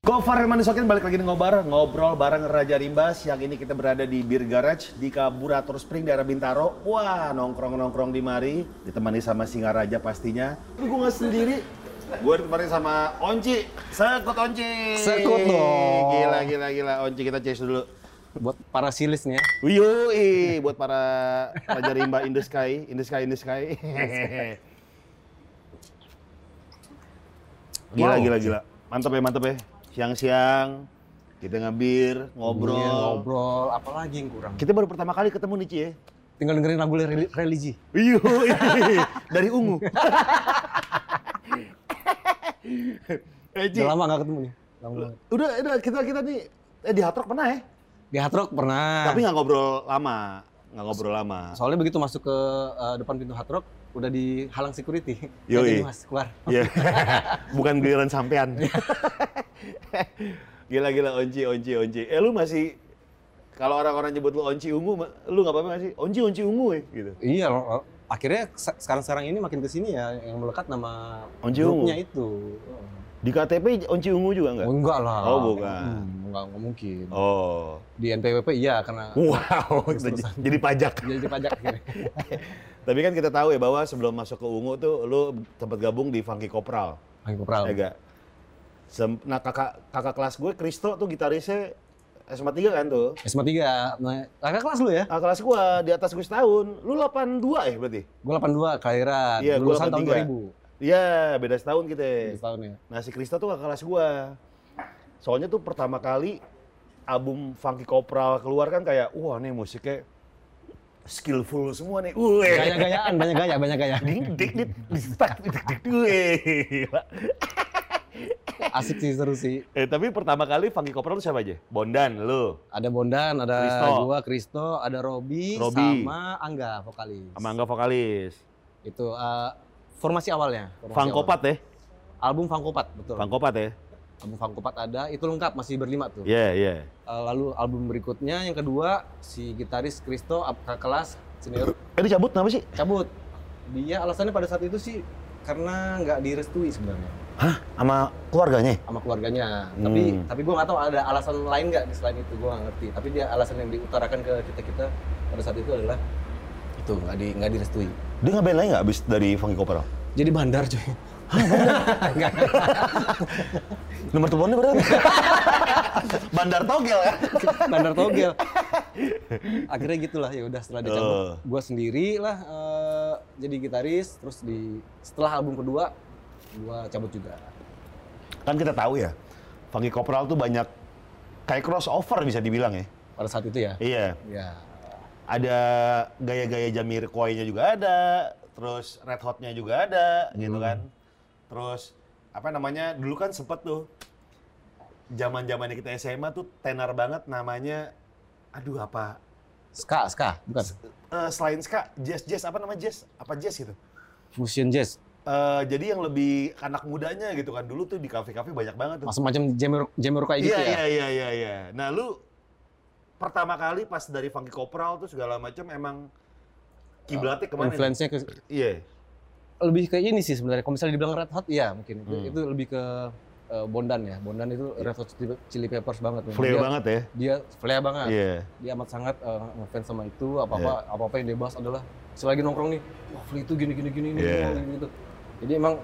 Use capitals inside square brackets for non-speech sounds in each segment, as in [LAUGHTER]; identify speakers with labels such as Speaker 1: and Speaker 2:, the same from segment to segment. Speaker 1: Cover Herman Sokin balik lagi di ngobar, ngobrol bareng Raja Rimbas. Yang ini kita berada di Beer Garage di Kaburator Spring daerah Bintaro. Wah, nongkrong-nongkrong di mari, ditemani sama Singa Raja pastinya. Tapi gue nggak sendiri, gue ditemani sama Onci, sekut Onci.
Speaker 2: Sekut dong.
Speaker 1: Gila, gila, gila. Onci kita cheers dulu.
Speaker 2: buat para silis nih ya.
Speaker 1: Yoi, buat para Raja Rimba in the sky, in the sky, in the sky. gila,
Speaker 2: Wow.
Speaker 1: gila, gila. Mantap ya, mantap ya. Siang-siang, kita ngabir, ngobrol.
Speaker 2: Iya, ngobrol, apalagi yang kurang.
Speaker 1: Kita baru pertama kali ketemu nih, ya. Cie.
Speaker 2: Tinggal dengerin lagu reli- religi.
Speaker 1: Yoi, [LAUGHS] dari Ungu. eh, Ci,
Speaker 2: Udah lama gak ketemu nih.
Speaker 1: Iya.
Speaker 2: Lama banget.
Speaker 1: udah, udah, kita, kita nih eh, di Hatrok pernah ya?
Speaker 2: Di Hard Rock pernah.
Speaker 1: Tapi nggak ngobrol lama. Nggak ngobrol lama.
Speaker 2: Soalnya begitu masuk ke eh, depan pintu Hard Rock, udah dihalang security. [LAUGHS]
Speaker 1: Yoi.
Speaker 2: Jadi mas, keluar.
Speaker 1: Iya. [LAUGHS] Bukan giliran sampean. gila gila onci onci onci. Eh lu masih kalau orang-orang nyebut lu onci ungu, ma- lu nggak apa-apa nggak sih? Onci onci ungu ya gitu.
Speaker 2: Iya, lo- lo- akhirnya se- sekarang-sekarang ini makin kesini ya yang melekat nama
Speaker 1: Onci
Speaker 2: grupnya itu.
Speaker 1: Di KTP onci ungu juga nggak?
Speaker 2: Oh, enggak lah.
Speaker 1: Oh, bukan.
Speaker 2: Hmm, enggak, enggak mungkin.
Speaker 1: Oh.
Speaker 2: Di NPWP iya
Speaker 1: [LAUGHS]
Speaker 2: karena
Speaker 1: Wow, jadi pajak.
Speaker 2: jadi pajak
Speaker 1: [LAUGHS]
Speaker 2: akhirnya.
Speaker 1: Tapi kan kita tahu ya bahwa sebelum masuk ke ungu tuh lu sempat gabung di Funky Kopral.
Speaker 2: Ayo, Kopral.
Speaker 1: Ya nggak? Sem- nah kakak kakak kelas gue Kristo tuh gitarisnya SMA 3 kan tuh.
Speaker 2: SMA 3. Nah, kakak kelas lu ya?
Speaker 1: Kakak kelas gue di atas gue setahun. Lu 82 ya berarti?
Speaker 2: Gue 82, Kelahiran.
Speaker 1: Iya, gua
Speaker 2: Lulusan tahun
Speaker 1: 83.
Speaker 2: 2000.
Speaker 1: Iya, beda setahun kita.
Speaker 2: Setahun ya.
Speaker 1: Nah, si Krista tuh kakak kelas gua. Soalnya tuh pertama kali album Funky Kopral keluar kan kayak, wah nih musiknya skillful semua nih. Wih,
Speaker 2: Gaya-gayaan, banyak gaya, banyak gaya.
Speaker 1: ding dik dik distak dik dik dik wih. Gila.
Speaker 2: Asik sih, seru sih.
Speaker 1: Eh, tapi pertama kali Funky Kopral tuh siapa aja? Bondan, lu,
Speaker 2: Ada Bondan, ada
Speaker 1: Kristo.
Speaker 2: gua, Kristo, ada Robi,
Speaker 1: Robi.
Speaker 2: sama Angga, vokalis.
Speaker 1: sama Angga vokalis.
Speaker 2: Itu eh, formasi awalnya. formasi
Speaker 1: Fangkopat ya?
Speaker 2: awal. Album Fangkopat, betul.
Speaker 1: Fangkopat ya?
Speaker 2: Album Fangkopat ada, itu lengkap, masih berlima tuh.
Speaker 1: Iya, iya.
Speaker 2: Eh, lalu album berikutnya, yang kedua, si gitaris Kristo, ap- kakak kelas, senior,
Speaker 1: Eh, dia cabut kenapa sih?
Speaker 2: cabut. Dia alasannya pada saat itu sih karena nggak direstui sebenarnya.
Speaker 1: Sama keluarganya?
Speaker 2: sama keluarganya.
Speaker 1: Hmm.
Speaker 2: Tapi tapi gue nggak tahu ada alasan lain nggak selain itu gue nggak ngerti. Tapi dia alasan yang diutarakan ke kita kita pada saat itu adalah itu nggak di nggak direstui.
Speaker 1: Dia ngapain lagi nggak abis dari Funky Kopral?
Speaker 2: Jadi bandar cuy. Nggak.
Speaker 1: Nomor teleponnya berapa? [LAUGHS] Bandar Togel ya?
Speaker 2: [LAUGHS] bandar
Speaker 1: [LAUGHS]
Speaker 2: togel. Akhirnya gitulah ya udah setelah dicabut
Speaker 1: Eh.
Speaker 2: gue sendiri lah eh, jadi gitaris terus di setelah album kedua gue cabut juga.
Speaker 1: kan kita tahu ya Funky Kopral tuh banyak kayak crossover bisa dibilang ya
Speaker 2: Pada saat itu ya.
Speaker 1: iya
Speaker 2: Ya.
Speaker 1: ada gaya-gaya Jamir nya juga ada terus Red Hotnya juga ada gitu kan terus apa namanya dulu kan sempet tuh zaman zamannya kita SMA tuh tenar banget namanya aduh apa
Speaker 2: Ska, ska, bukan.
Speaker 1: Eh, selain ska jazz jazz apa nama jazz apa jazz gitu
Speaker 2: Fusion jazz.
Speaker 1: Eh, jadi yang lebih anak mudanya gitu kan dulu tuh di kafe-kafe banyak banget tuh
Speaker 2: Macam-macam jammer jammer kayak
Speaker 1: Iya
Speaker 2: gitu ya.
Speaker 1: iya iya iya iya. Nah, lu pertama kali pas dari Funky Kopral tuh segala macam emang kiblatnya kemana? nih?
Speaker 2: Influence-nya ke
Speaker 1: Iya.
Speaker 2: lebih ke ini sih sebenarnya. Kalau misalnya dibilang Red Hot, iya mungkin
Speaker 1: Hmm.
Speaker 2: itu, itu lebih ke eh, Bondan ya. Bondan itu Red Hot Chili- Chili Peppers banget. memang.
Speaker 1: Iya. Flair
Speaker 2: dia, Nah.
Speaker 1: banget ya.
Speaker 2: Dia flare banget.
Speaker 1: Iya.
Speaker 2: Dia amat sangat eh, ngefans sama itu. Apa apa apa apa yang dia bahas adalah selagi nongkrong nih, wah Flea itu gini gini gini ini,
Speaker 1: Iya.
Speaker 2: gini, gini, gitu. Jadi emang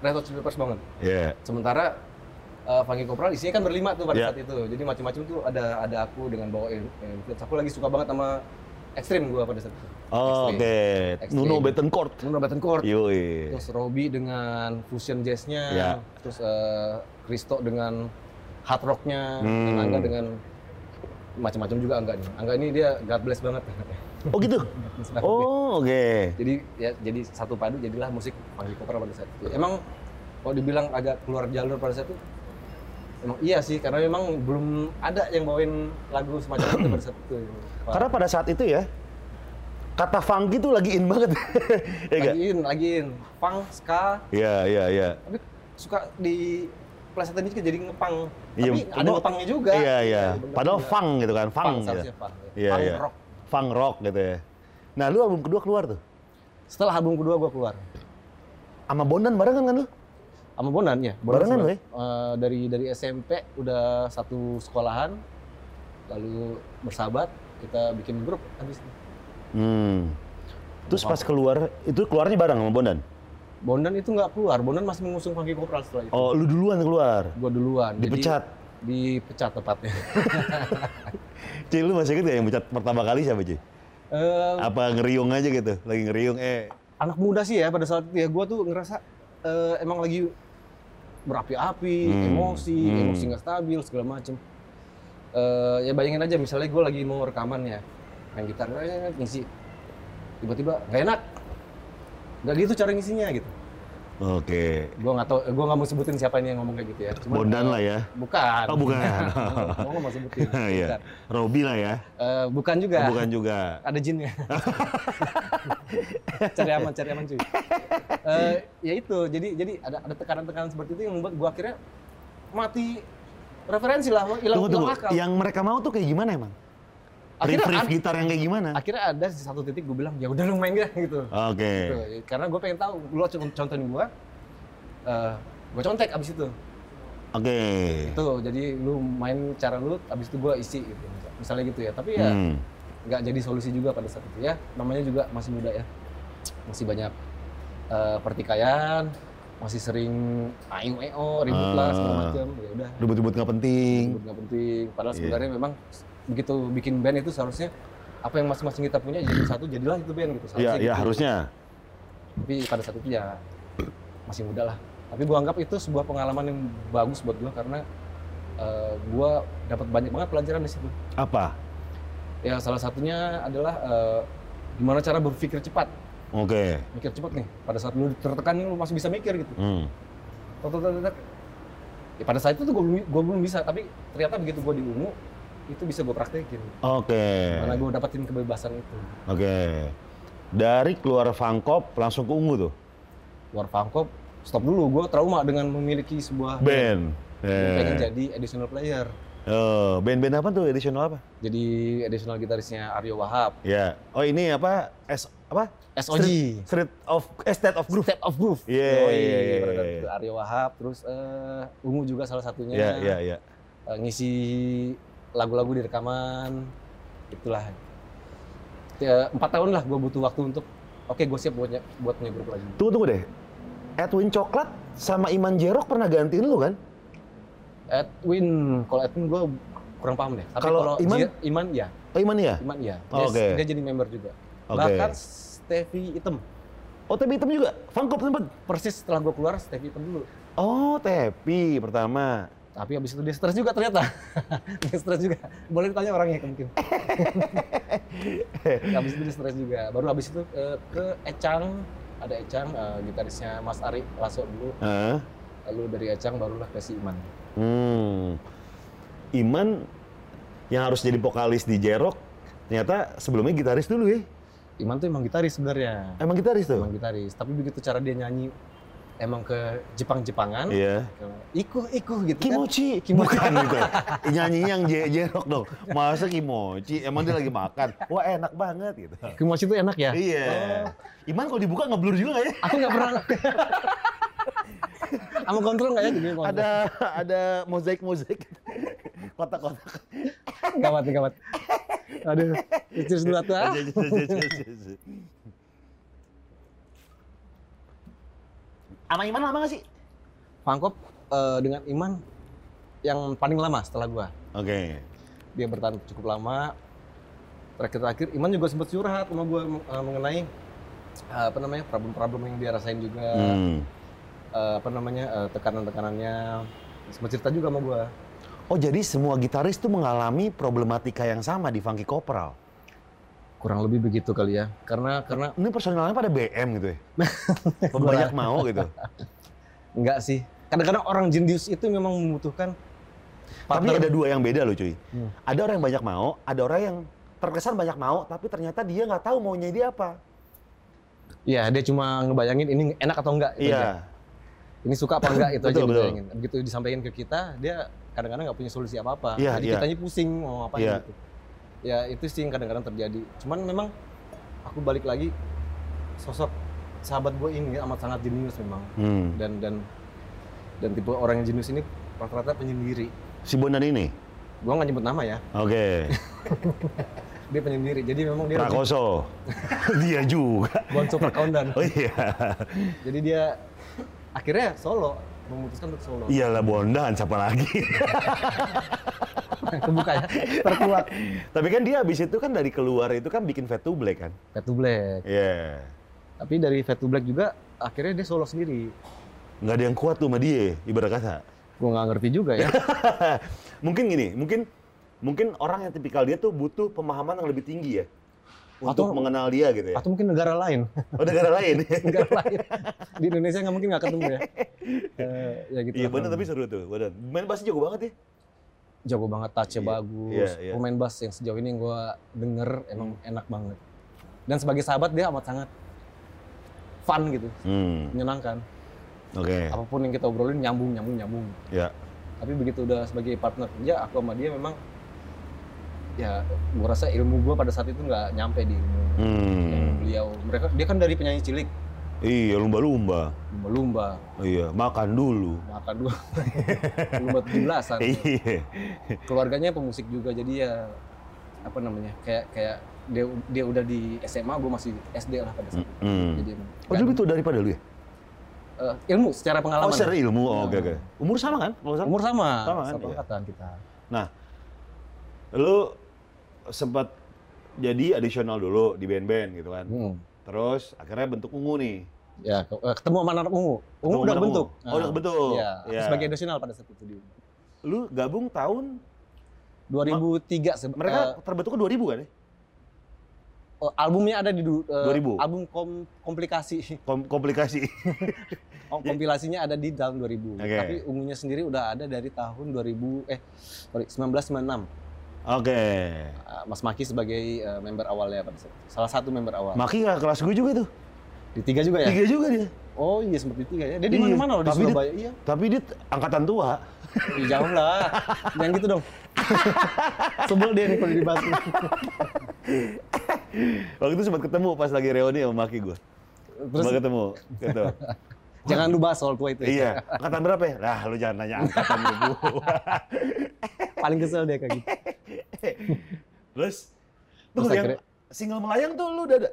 Speaker 2: Red Hot Chili Peppers banget.
Speaker 1: Iya.
Speaker 2: Sementara eh, Funky Kopral isinya kan berlima tuh pada
Speaker 1: Iya.
Speaker 2: saat itu. Jadi macam-macam tuh ada ada aku dengan bawa influence. Aku lagi suka banget sama ekstrim gua pada saat itu.
Speaker 1: Oh, Oke.
Speaker 2: Ekstrim.
Speaker 1: Nuno
Speaker 2: Extreme.
Speaker 1: Bettencourt.
Speaker 2: Nuno Bettencourt,
Speaker 1: Yoi.
Speaker 2: Terus Robby dengan fusion jazznya,
Speaker 1: Ya.
Speaker 2: terus eh, Kristo dengan hard rocknya, dan
Speaker 1: Hmm.
Speaker 2: Angga dengan macam-macam juga Angga nih. Angga ini dia God bless banget. [LAUGHS]
Speaker 1: Oh gitu.
Speaker 2: God bless banget dia.
Speaker 1: Oh, oke.
Speaker 2: Jadi ya jadi satu padu jadilah musik Funky Kopra pada saat itu. Emang kalau dibilang agak keluar jalur pada saat itu, emang iya sih karena memang belum ada yang bawain lagu semacam itu pada saat itu.
Speaker 1: Karena pada saat itu ya kata funky tuh lagi in banget. [LAUGHS] Iya nggak?
Speaker 2: lagiin, lagiin, punk, ska,
Speaker 1: Iya, iya, iya.
Speaker 2: tapi suka di plesetan dikit jadi ngepang
Speaker 1: Iya,
Speaker 2: tapi ada
Speaker 1: gua-
Speaker 2: ngepangnya juga
Speaker 1: Iya, iya.
Speaker 2: bener
Speaker 1: Padahal
Speaker 2: juga.
Speaker 1: funk gitu kan,
Speaker 2: pang
Speaker 1: funk. gitu.
Speaker 2: seharusnya pang
Speaker 1: Iya,
Speaker 2: Pang
Speaker 1: iya.
Speaker 2: rock
Speaker 1: Funk rock gitu ya. Nah, lu album kedua keluar tuh.
Speaker 2: setelah album kedua gua keluar
Speaker 1: Sama Bondan barengan kan lu?
Speaker 2: sama Bonan ya.
Speaker 1: Barengan
Speaker 2: sama-
Speaker 1: lo ya?
Speaker 2: eh, dari dari SMP udah satu sekolahan, lalu bersahabat, kita bikin grup habis itu.
Speaker 1: Hmm. Terus pas keluar, itu keluarnya bareng sama Bondan?
Speaker 2: Bondan itu nggak keluar, Bondan masih mengusung Funky Kopral setelah itu.
Speaker 1: Oh, lu duluan
Speaker 2: [LAUGHS]
Speaker 1: keluar.
Speaker 2: Gua duluan. jadi-
Speaker 1: Dipecat.
Speaker 2: dipecat tepatnya. [LAUGHS]
Speaker 1: Cil, lu masih inget gak yang pecat pertama kali siapa, Cil?
Speaker 2: Eh,
Speaker 1: Apa ngeriung aja gitu? Lagi ngeriung, eh.
Speaker 2: anak muda sih ya pada saat itu ya gue tuh ngerasa eh, emang lagi berapi-api,
Speaker 1: Hmm.
Speaker 2: emosi,
Speaker 1: Hmm.
Speaker 2: emosi nggak stabil segala macem. Eh, ya bayangin aja misalnya gue lagi mau rekaman ya, main gitar, eh, ngisi, tiba-tiba nggak enak, nggak gitu cara ngisinya gitu.
Speaker 1: Oke.
Speaker 2: Gue nggak tau, gue nggak mau sebutin siapa ini yang ngomong kayak gitu ya. Cuman,
Speaker 1: Bondan lah ya.
Speaker 2: Bukan.
Speaker 1: Oh, bukan.
Speaker 2: [LAUGHS] gue nggak mau sebutin.
Speaker 1: [LAUGHS] Iya.
Speaker 2: Bukan.
Speaker 1: Robi lah ya.
Speaker 2: Eh, bukan juga.
Speaker 1: Oh, Bukan juga.
Speaker 2: ada
Speaker 1: [LAUGHS]
Speaker 2: jinnya. cari aman, cari aman cuy. Eh, ya itu, jadi jadi ada ada tekanan-tekanan seperti itu yang membuat gua akhirnya mati referensi lah, hilang
Speaker 1: Tunggu, Iya. tunggu.
Speaker 2: hilang akal.
Speaker 1: Yang mereka mau tuh kayak gimana emang?
Speaker 2: Akhirnya
Speaker 1: Riff-riff
Speaker 2: ad-
Speaker 1: gitar yang kayak gimana?
Speaker 2: akhirnya ada di satu titik gua bilang ya udah lu main deh gitu.
Speaker 1: Oke.
Speaker 2: Gitu. Karena gua pengen tahu, lu co- contohin gua, eh gua contek abis itu.
Speaker 1: Oke.
Speaker 2: Itu jadi lu main cara lu, abis itu gua isi gitu. Misalnya gitu ya, tapi ya
Speaker 1: Hmm.
Speaker 2: nggak jadi solusi juga pada saat itu ya namanya juga masih muda ya masih banyak eh, pertikaian masih sering ayo eo ribut lah segala
Speaker 1: Ah.
Speaker 2: macam ya udah
Speaker 1: Ribut-ribut nggak penting.
Speaker 2: ribut nggak penting padahal
Speaker 1: Iya.
Speaker 2: sebenarnya memang begitu bikin band itu seharusnya apa yang masing-masing kita punya jadi satu jadilah itu band gitu
Speaker 1: Ya,
Speaker 2: Seharusnya
Speaker 1: ya
Speaker 2: gitu.
Speaker 1: harusnya.
Speaker 2: tapi pada saat itu ya masih muda lah tapi gua anggap itu sebuah pengalaman yang bagus buat gua karena eh, gua dapat banyak banget pelajaran di situ
Speaker 1: Apa?
Speaker 2: ya salah satunya adalah eh, gimana cara berpikir cepat
Speaker 1: Oke.
Speaker 2: mikir cepat nih pada saat lu tertekan nih, lu masih bisa mikir gitu
Speaker 1: Hmm.
Speaker 2: Tok, tok, tok, tok, tok. ya pada saat itu tuh gue belum gua belum bisa tapi ternyata begitu gue di ungu itu bisa gue praktekin
Speaker 1: Oke.
Speaker 2: karena gue dapetin kebebasan itu
Speaker 1: Oke. Dari keluar Fangkop langsung ke Ungu tuh.
Speaker 2: luar pangkop stop dulu gue trauma dengan memiliki sebuah
Speaker 1: Band.
Speaker 2: Gua pengen
Speaker 1: Eh,
Speaker 2: jadi additional player
Speaker 1: Eh, band-band apa tuh additional apa?
Speaker 2: jadi additional gitarisnya Aryo Wahab
Speaker 1: Ya. Oh ini apa? S apa?
Speaker 2: SOG
Speaker 1: Street, Street of eh, State of Groove.
Speaker 2: Step of Groove
Speaker 1: Iya,
Speaker 2: Yoi,
Speaker 1: iya, iya,
Speaker 2: pada saat
Speaker 1: iya.
Speaker 2: itu Aryo Wahab terus eh, ungu juga salah satunya
Speaker 1: Ya, ya, ya.
Speaker 2: eh, ngisi lagu-lagu di rekaman itulah ya, empat tahun lah gue butuh waktu untuk oke gue siap buat nye- buat punya grup lagi
Speaker 1: Tunggu tunggu deh. Edwin Coklat sama Iman Jerok pernah gantiin lu kan?
Speaker 2: Edwin kalau Edwin gue kurang paham deh tapi
Speaker 1: Kalau
Speaker 2: kalau
Speaker 1: Iman?
Speaker 2: Ji- Iman ya
Speaker 1: Oh Iman ya?
Speaker 2: Iman ya dia,
Speaker 1: Oke.
Speaker 2: dia jadi member juga
Speaker 1: Oke.
Speaker 2: bahkan Stevie Item
Speaker 1: Oh Tepi Hitam juga? Fangkop sempet?
Speaker 2: persis setelah gue keluar Stevie Item dulu
Speaker 1: Oh Tepi pertama.
Speaker 2: tapi habis itu dia stres juga ternyata [LAUGHS] dia stres juga boleh ditanya
Speaker 1: [LAUGHS]
Speaker 2: orangnya mungkin habis itu dia stres juga baru habis itu eh, ke Ecang ada Ecang eh, gitarisnya Mas Ari Lasso dulu
Speaker 1: Hah?
Speaker 2: lalu dari Ecang barulah ke si Iman
Speaker 1: Hmm. Iman yang harus jadi vokalis di Jerok ternyata sebelumnya gitaris dulu ya.
Speaker 2: Iman tuh emang gitaris sebenarnya
Speaker 1: Emang gitaris tuh?
Speaker 2: emang gitaris tapi begitu cara dia nyanyi emang ke Jepang-Jepangan
Speaker 1: Iya.
Speaker 2: ikuh ikuh gitu kan
Speaker 1: Kimochi.
Speaker 2: Kimochi.
Speaker 1: Bukan [LAUGHS] gitu. Nyanyinya yang je- jerok dong. Masa kimochi? Emang dia lagi makan? Wah enak banget gitu.
Speaker 2: Kimochi itu enak ya
Speaker 1: Iya. Iman kalau dibuka ngeblur juga nggak ya?
Speaker 2: aku nggak
Speaker 1: [LAUGHS]
Speaker 2: pernah kamu kontrol nggak ya gini kontrol?
Speaker 1: Ada ada mozaik mozaik kotak-kotak.
Speaker 2: gawat nih gawat aduh cheers dulu atuh ah.
Speaker 1: Sama Iman lama nggak sih?
Speaker 2: Pangkop eh, dengan Iman yang paling lama setelah gua.
Speaker 1: Oke.
Speaker 2: Dia bertahan cukup lama. Terakhir-terakhir Iman juga sempat curhat sama gua eh, mengenai eh, apa namanya problem-problem yang dia rasain juga
Speaker 1: Hmm.
Speaker 2: eh, apa namanya eh, tekanan-tekanannya sempat cerita juga sama gua.
Speaker 1: Oh jadi semua gitaris tuh mengalami problematika yang sama di Funky Kopral.
Speaker 2: Kurang lebih begitu kali ya. Karena karena
Speaker 1: Ini personalnya pada BM [LAUGHS] gitu ya? Banyak mau gitu.
Speaker 2: enggak sih. Kadang-kadang orang jenius itu memang membutuhkan
Speaker 1: Tapi
Speaker 2: partner.
Speaker 1: ada dua yang beda loh cuy.
Speaker 2: Hmm.
Speaker 1: Ada orang yang banyak mau, ada orang yang terkesan banyak mau, tapi ternyata dia nggak tahu maunya dia apa.
Speaker 2: Iya, dia cuma ngebayangin ini enak atau
Speaker 1: Iya.
Speaker 2: enggak gitu aja. ini suka apa enggak itu aja
Speaker 1: Betul,
Speaker 2: yang
Speaker 1: betul.
Speaker 2: dibayangin. Begitu disampaikan ke kita, dia kadang-kadang nggak punya solusi apa-apa.
Speaker 1: Iya,
Speaker 2: Jadi
Speaker 1: iya.
Speaker 2: kitanya pusing mau apa
Speaker 1: Iya.
Speaker 2: gitu. Ya itu sih yang kadang-kadang terjadi. Cuman memang aku balik lagi sosok sahabat gue ini amat sangat jenius memang
Speaker 1: Hmm.
Speaker 2: dan dan Dan tipe orang yang jenius ini rata-rata penyendiri.
Speaker 1: Si Bondan ini?
Speaker 2: Gua nggak nyebut nama ya.
Speaker 1: Oke.
Speaker 2: Dia penyendiri. Jadi memang dia
Speaker 1: Prakoso. [LAUGHS] dia juga.
Speaker 2: [LAUGHS] bukan super counter.
Speaker 1: Oh iya.
Speaker 2: Jadi dia akhirnya solo memutuskan untuk solo. [LAUGHS]
Speaker 1: Iyalah Bondan siapa lagi. [LAUGHS]
Speaker 2: Kebuka ya.
Speaker 3: Terkuat.
Speaker 1: Tapi kan dia abis itu kan dari keluar itu kan bikin Fat to Black kan.
Speaker 2: Fat to Black.
Speaker 1: Iya.
Speaker 2: Tapi dari Fat to Black juga akhirnya dia solo sendiri.
Speaker 1: Nggak ada yang kuat tuh sama dia, ibarat kata. [LAUGHS]
Speaker 2: Gua nggak ngerti juga ya.
Speaker 1: mungkin gini, mungkin mungkin orang yang tipikal dia tuh butuh pemahaman yang lebih tinggi ya. Untuk
Speaker 2: Atau-
Speaker 1: mengenal dia gitu [LAUGHS] ya.
Speaker 2: Atau mungkin negara lain.
Speaker 1: Oh negara lain.
Speaker 2: negara lain. Di Indonesia nggak mungkin nggak ketemu ya. Eh, ya gitu.
Speaker 1: [LAUGHS] Iya
Speaker 2: lah.
Speaker 1: bener tapi seru tuh, Bondan. Main bass jago banget ya.
Speaker 2: jago banget,
Speaker 1: Iya,
Speaker 2: touch-nya bagus.
Speaker 1: iya, iya. Hmm.
Speaker 2: Pemain bass yang sejauh ini yang gue denger emang enak banget. Dan sebagai sahabat dia amat sangat fun gitu,
Speaker 1: Hmm.
Speaker 2: menyenangkan.
Speaker 1: Oke.
Speaker 2: Apapun yang kita obrolin nyambung, nyambung, nyambung.
Speaker 1: Ya.
Speaker 2: Tapi begitu udah sebagai partner kerja, aku sama dia memang ya gue rasa ilmu gue pada saat itu nggak nyampe di ilmu yang
Speaker 1: Hmm.
Speaker 2: beliau. Mereka dia kan dari penyanyi cilik,
Speaker 1: Iya lumba-lumba.
Speaker 2: lumba-lumba,
Speaker 1: Iya, makan dulu.
Speaker 2: makan dua, lumba 17-an.
Speaker 1: [LAUGHS] Iya.
Speaker 2: keluarganya pemusik juga jadi ya apa namanya kayak kayak dia dia udah di SMA gue masih SD lah pada saat itu.
Speaker 1: Hmm.
Speaker 2: jadi emang
Speaker 1: Oh,
Speaker 2: nggak
Speaker 1: dia lebih tua daripada lu ya?
Speaker 2: ada- eh, ilmu secara
Speaker 1: Oh,
Speaker 2: pengalaman
Speaker 1: secara ilmu. Oh, oke oke.
Speaker 2: Pengalaman.
Speaker 1: Umur sama kan? Kalau nggak salah?
Speaker 2: umur sama
Speaker 1: Sama kan,
Speaker 2: satu
Speaker 1: iya.
Speaker 2: angkatan kita
Speaker 1: Nah, lu sempat jadi additional dulu di band-band gitu kan.
Speaker 2: Hmm.
Speaker 1: Terus akhirnya bentuk ungu nih.
Speaker 2: ya ke- eh, ketemu sama anak ungu ungu
Speaker 1: Ketemu
Speaker 2: udah
Speaker 1: anak
Speaker 2: bentuk
Speaker 1: ungu. Oh, udah kebentuk.
Speaker 2: Iya,
Speaker 1: Iya.
Speaker 2: sebagai nasional pada saat itu di
Speaker 1: Lu gabung tahun
Speaker 2: 2003 se-
Speaker 1: mereka terbentuk ke 2000 kan ya?
Speaker 2: eh, oh, albumnya ada di du- eh,
Speaker 1: 2000.
Speaker 2: album kom- komplikasi
Speaker 1: Kom- komplikasi. [LAUGHS]
Speaker 2: Kom- Oh, kompilasinya ada di tahun 2000
Speaker 1: Oke.
Speaker 2: tapi ungunya sendiri udah ada dari tahun 2000 eh sorry 1996
Speaker 1: oke.
Speaker 2: Uh, Mas Maki sebagai uh, member awalnya pada saat itu. Salah satu member awal.
Speaker 1: Maki nggak kelas gue juga tuh.
Speaker 2: di tiga juga ya?
Speaker 1: Tiga juga dia.
Speaker 2: Oh iya sempat di tiga ya. Dia di
Speaker 1: Iya,
Speaker 2: mana-mana loh di
Speaker 1: tapi dia-
Speaker 2: Surabaya. Iya.
Speaker 1: Tapi dia t- angkatan tua.
Speaker 2: Ih, jauh lah. Jangan gitu
Speaker 1: [LAUGHS]
Speaker 2: dong. Sebel dia nih kalau dibahas.
Speaker 1: Waktu itu sempat ketemu pas lagi reuni sama Maki gue.
Speaker 2: Terus
Speaker 1: Sempat ketemu.
Speaker 2: [LAUGHS]
Speaker 1: Gitu.
Speaker 2: jangan lu bahas soal tua itu. ya.
Speaker 1: iya. Angkatan berapa ya? Lah, lu jangan nanya angkatan
Speaker 2: [LAUGHS]
Speaker 1: gue.
Speaker 2: Paling kesel dia kayak gitu.
Speaker 1: Terus,
Speaker 2: Terus
Speaker 1: tuh yang
Speaker 2: akhirnya-
Speaker 1: single melayang tuh lu udah ada.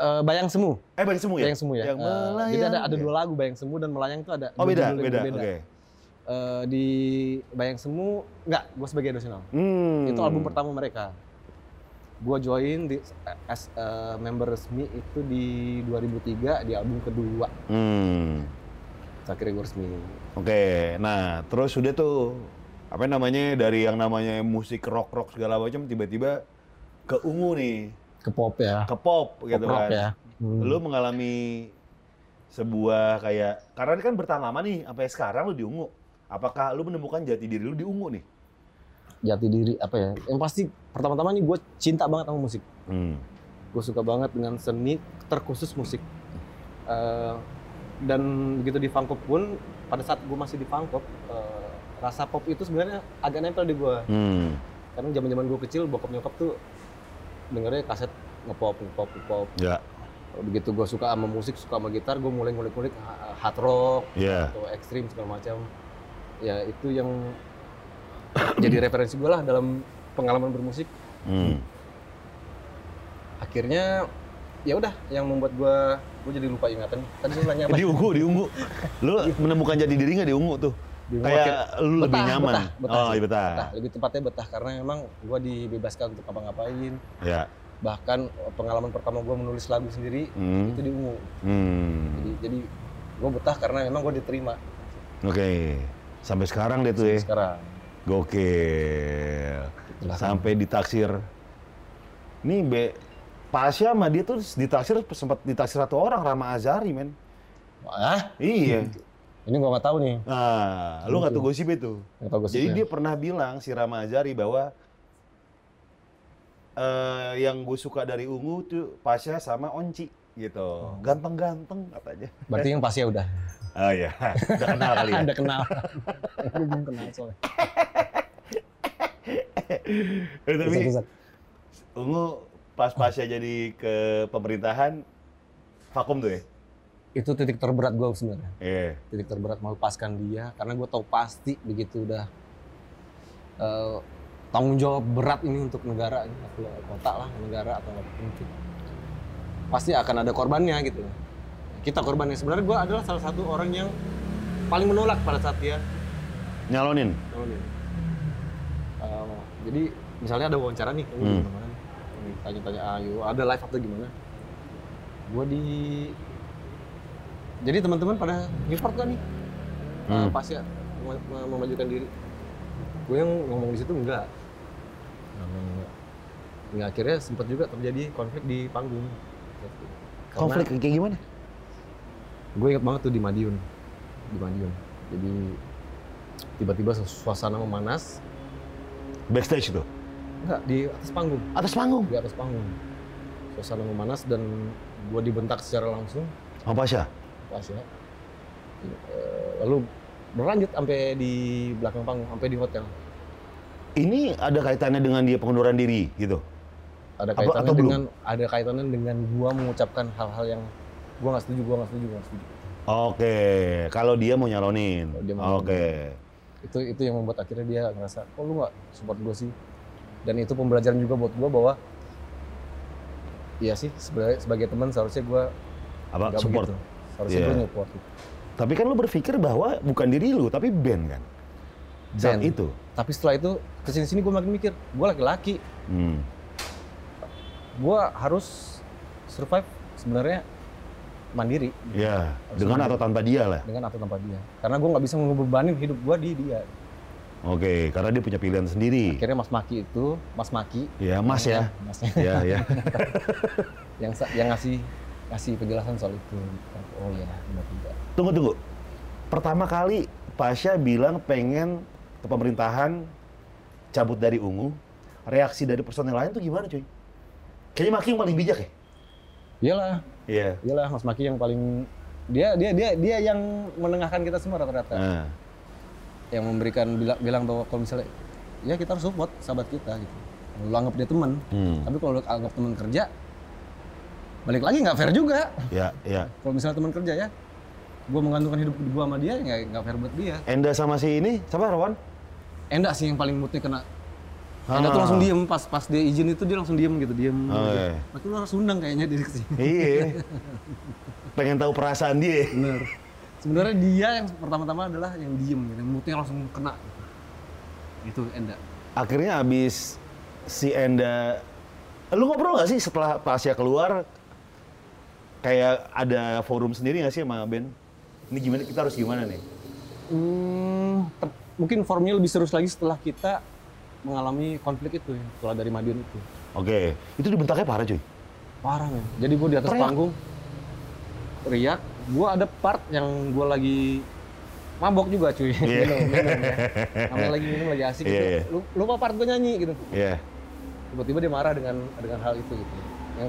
Speaker 2: Uh, bayang Semu.
Speaker 1: Eh, bagi semu ya?
Speaker 2: Bayang Semu ya.
Speaker 1: Yang
Speaker 2: Uh,
Speaker 1: melayang. ya?
Speaker 2: jadi ada ada dua lagu Bayang Semu dan Melayang tuh ada.
Speaker 1: Oh
Speaker 2: dua
Speaker 1: beda,
Speaker 2: judul yang
Speaker 1: beda. Oke.
Speaker 2: berbeda. Uh, di Bayang Semu enggak, gua sebagai dosenal.
Speaker 1: Hmm.
Speaker 2: Itu album pertama mereka. Gua join di as uh, member resmi itu di 2003 di album kedua.
Speaker 1: Hmm.
Speaker 2: Akhirnya gue resmi.
Speaker 1: Oke. Nah, terus udah tuh apa namanya dari yang namanya musik rock rock segala macam tiba-tiba ke ungu nih,
Speaker 2: Ke pop ya.
Speaker 1: ke pop gitu
Speaker 2: Pop rock
Speaker 1: kan.
Speaker 2: ya. Hmm.
Speaker 1: Lu mengalami sebuah kayak karena ini kan bertambah nih sampai sekarang lu di ungu. Apakah lu menemukan jati diri lu di ungu nih?
Speaker 2: Jati diri apa ya? Yang pasti pertama-tama nih gue cinta banget sama musik.
Speaker 1: Hmm.
Speaker 2: Gue suka banget dengan seni terkhusus musik. Eh, dan begitu di Fangkop pun pada saat gue masih di Fangkop eh, rasa pop itu sebenarnya agak nempel di gue.
Speaker 1: Hmm.
Speaker 2: Karena zaman-zaman gue kecil bokap nyokap tuh dengernya kaset ngepop ngepop ngepop.
Speaker 1: Ya.
Speaker 2: Begitu gue suka sama musik, suka sama gitar, gue mulai ngulik-ngulik eh, hard rock,
Speaker 1: Ya.
Speaker 2: atau ekstrim segala macam ya itu yang [COUGHS] jadi referensi gue lah dalam pengalaman bermusik
Speaker 1: Hmm.
Speaker 2: akhirnya ya udah yang membuat gue gue jadi lupa ingatan tadi lu nanya apa
Speaker 1: Eh, Di ungu, di ungu. Lu menemukan jati diri nggak di ungu tuh?
Speaker 2: Di rumah akhir-
Speaker 1: Kayak lu lebih
Speaker 2: Betah,
Speaker 1: nyaman.
Speaker 2: betah, betah
Speaker 1: oh,
Speaker 2: sih.
Speaker 1: iya betah.
Speaker 2: betah, lebih tepatnya betah karena memang gue dibebaskan untuk apa-ngapain
Speaker 1: Ya.
Speaker 2: bahkan eh, pengalaman pertama gue menulis lagu sendiri
Speaker 1: Hmm.
Speaker 2: itu di ungu
Speaker 1: Hmm.
Speaker 2: jadi jadi gue betah karena memang gue diterima
Speaker 1: Oke. Sampai sekarang deh tuh ya.
Speaker 2: sekarang
Speaker 1: Gokil.
Speaker 2: Itulah.
Speaker 1: Sampai ditaksir. Nih Be, Pasha sama dia tuh ditaksir sempat ditaksir satu orang Rama Azari, men.
Speaker 2: ah [LAUGHS]
Speaker 1: Iya.
Speaker 2: ini gue nggak tahu nih
Speaker 1: Nah, lu nggak tuh gosip itu.
Speaker 2: nggak tahu
Speaker 1: Jadi
Speaker 2: gosipnya.
Speaker 1: dia pernah bilang si Rama Azari bahwa eh yang gue suka dari Ungu tuh Pasha sama Onci gitu. Ganteng-ganteng katanya.
Speaker 2: berarti yang pasti ya udah
Speaker 1: Oh iya, [LAUGHS] udah kenal kali ya.
Speaker 2: [LAUGHS] ada kenal Gua belum kenal soalnya
Speaker 1: Eh, Tapi
Speaker 2: Bisa, bisa.
Speaker 1: Ungu pas Pasha jadi ke pemerintahan vakum tuh ya.
Speaker 2: itu titik terberat gue sebenarnya
Speaker 1: Iya.
Speaker 2: titik terberat melepaskan dia karena gue tahu pasti begitu udah eh, tanggung jawab berat ini untuk negara ini atau kota lah negara atau apapun itu pasti akan ada korbannya gitu kita korbannya sebenarnya gue adalah salah satu orang yang paling menolak pada saat dia
Speaker 1: Nyalonin.
Speaker 2: nolongin. Eh, Oh, iya. jadi misalnya ada wawancara nih kamu
Speaker 1: Hmm.
Speaker 2: gimana nih? tanya-tanya ayo ada live atau gimana gue di jadi teman-teman pada report gak nih
Speaker 1: Hmm.
Speaker 2: Eh, pas ya mem- mem- memajukan diri gue yang ngomong di situ enggak ngomong enggak Hingga akhirnya sempat juga terjadi konflik di panggung Karena-
Speaker 1: Konflik kayak gimana?
Speaker 2: gue inget banget tuh di Madiun di Madiun jadi tiba-tiba suasana memanas
Speaker 1: Backstage tuh.
Speaker 2: enggak di atas panggung
Speaker 1: Atas panggung.
Speaker 2: di atas panggung suasana memanas dan gue dibentak secara langsung
Speaker 1: Sama Pasha.
Speaker 2: pas ya Eh, lalu berlanjut sampai di belakang panggung sampai di hotel
Speaker 1: Ini ada kaitannya dengan dia pengunduran diri gitu.
Speaker 2: ada
Speaker 1: Apa-
Speaker 2: kaitannya
Speaker 1: atau belum?
Speaker 2: dengan ada kaitannya dengan gue mengucapkan hal-hal yang gue nggak setuju gue nggak setuju gue nggak setuju
Speaker 1: Oke, kalau dia mau nyalonin.
Speaker 2: Kalau dia mau nyalonin.
Speaker 1: Oke.
Speaker 2: itu itu yang membuat akhirnya dia ngerasa kok lu nggak support gue sih dan itu pembelajaran juga buat gue bahwa iya sih sebagai sebagai teman seharusnya gue
Speaker 1: Apa
Speaker 2: nggak
Speaker 1: support?
Speaker 2: begitu. seharusnya
Speaker 1: Iya.
Speaker 2: gue support gitu.
Speaker 1: Tapi kan lu berpikir bahwa bukan diri lu, tapi band kan. Saat
Speaker 2: Band.
Speaker 1: itu.
Speaker 2: tapi setelah itu kesini sini gue makin mikir gue laki-laki
Speaker 1: Hmm.
Speaker 2: gue harus survive sebenarnya mandiri
Speaker 1: Ya, dengan atau tanpa dia lah.
Speaker 2: dengan atau tanpa dia karena gue nggak bisa ngebebanin hidup gue di dia
Speaker 1: Oke, karena dia punya pilihan sendiri.
Speaker 2: akhirnya Mas Maki itu Mas Maki
Speaker 1: Ya, Mas
Speaker 2: [LAUGHS]
Speaker 1: ya.
Speaker 2: Masnya
Speaker 1: Ya, ya.
Speaker 2: yang sa- yang ngasih ngasih penjelasan soal itu oh iya benar juga
Speaker 1: Tunggu, tunggu. Pertama kali Pasha bilang pengen ke pemerintahan cabut dari Ungu. Reaksi dari personel lain tuh gimana, cuy? Kayaknya Maki yang paling bijak ya?
Speaker 2: iyalah
Speaker 1: Iya.
Speaker 2: iyalah Mas Maki yang paling dia dia dia dia yang menengahkan kita semua rata-rata
Speaker 1: Nah,
Speaker 2: yang memberikan bilang bilang bahwa kalau misalnya ya kita harus support sahabat kita gitu lu anggap dia teman
Speaker 1: Hmm.
Speaker 2: tapi kalau lu anggap teman kerja balik lagi nggak fair juga
Speaker 1: ya, ya.
Speaker 2: kalau misalnya teman kerja ya gue menggantungkan hidup gue sama dia ya nggak nggak fair buat dia
Speaker 1: Enda sama si ini, siapa Rawan?
Speaker 2: Enda sih yang paling moodnya kena
Speaker 1: Ah.
Speaker 2: Enda tuh langsung diem pas pas dia izin itu dia langsung diem gitu diem
Speaker 1: Oh,
Speaker 2: gitu.
Speaker 1: iya.
Speaker 2: Berarti lu harus undang kayaknya dia kesini
Speaker 1: Iya. pengen tahu perasaan dia.
Speaker 2: bener sebenarnya dia yang pertama-tama adalah yang diem gitu moodnya langsung kena gitu. itu Enda
Speaker 1: Akhirnya abis si Enda, lu ngobrol nggak sih setelah Pasha keluar? Kayak ada forum sendiri nggak sih sama Ben? Ini gimana kita harus gimana nih?
Speaker 2: Hmm, te- mungkin formnya lebih serius lagi setelah kita mengalami konflik itu ya, setelah dari Madiun itu.
Speaker 1: Oke, itu dibentaknya parah cuy.
Speaker 2: Parah men. Jadi gue di atas
Speaker 1: Teriak.
Speaker 2: panggung teriak, gue ada part yang gue lagi mabok juga cuy. [LAUGHS] minum, minum ya. Namanya lagi minum lagi asik
Speaker 1: Iya, iya.
Speaker 2: gitu. Lu- Lupa part gue nyanyi gitu.
Speaker 1: Iya.
Speaker 2: Tiba-tiba dia marah dengan dengan hal itu gitu. Yang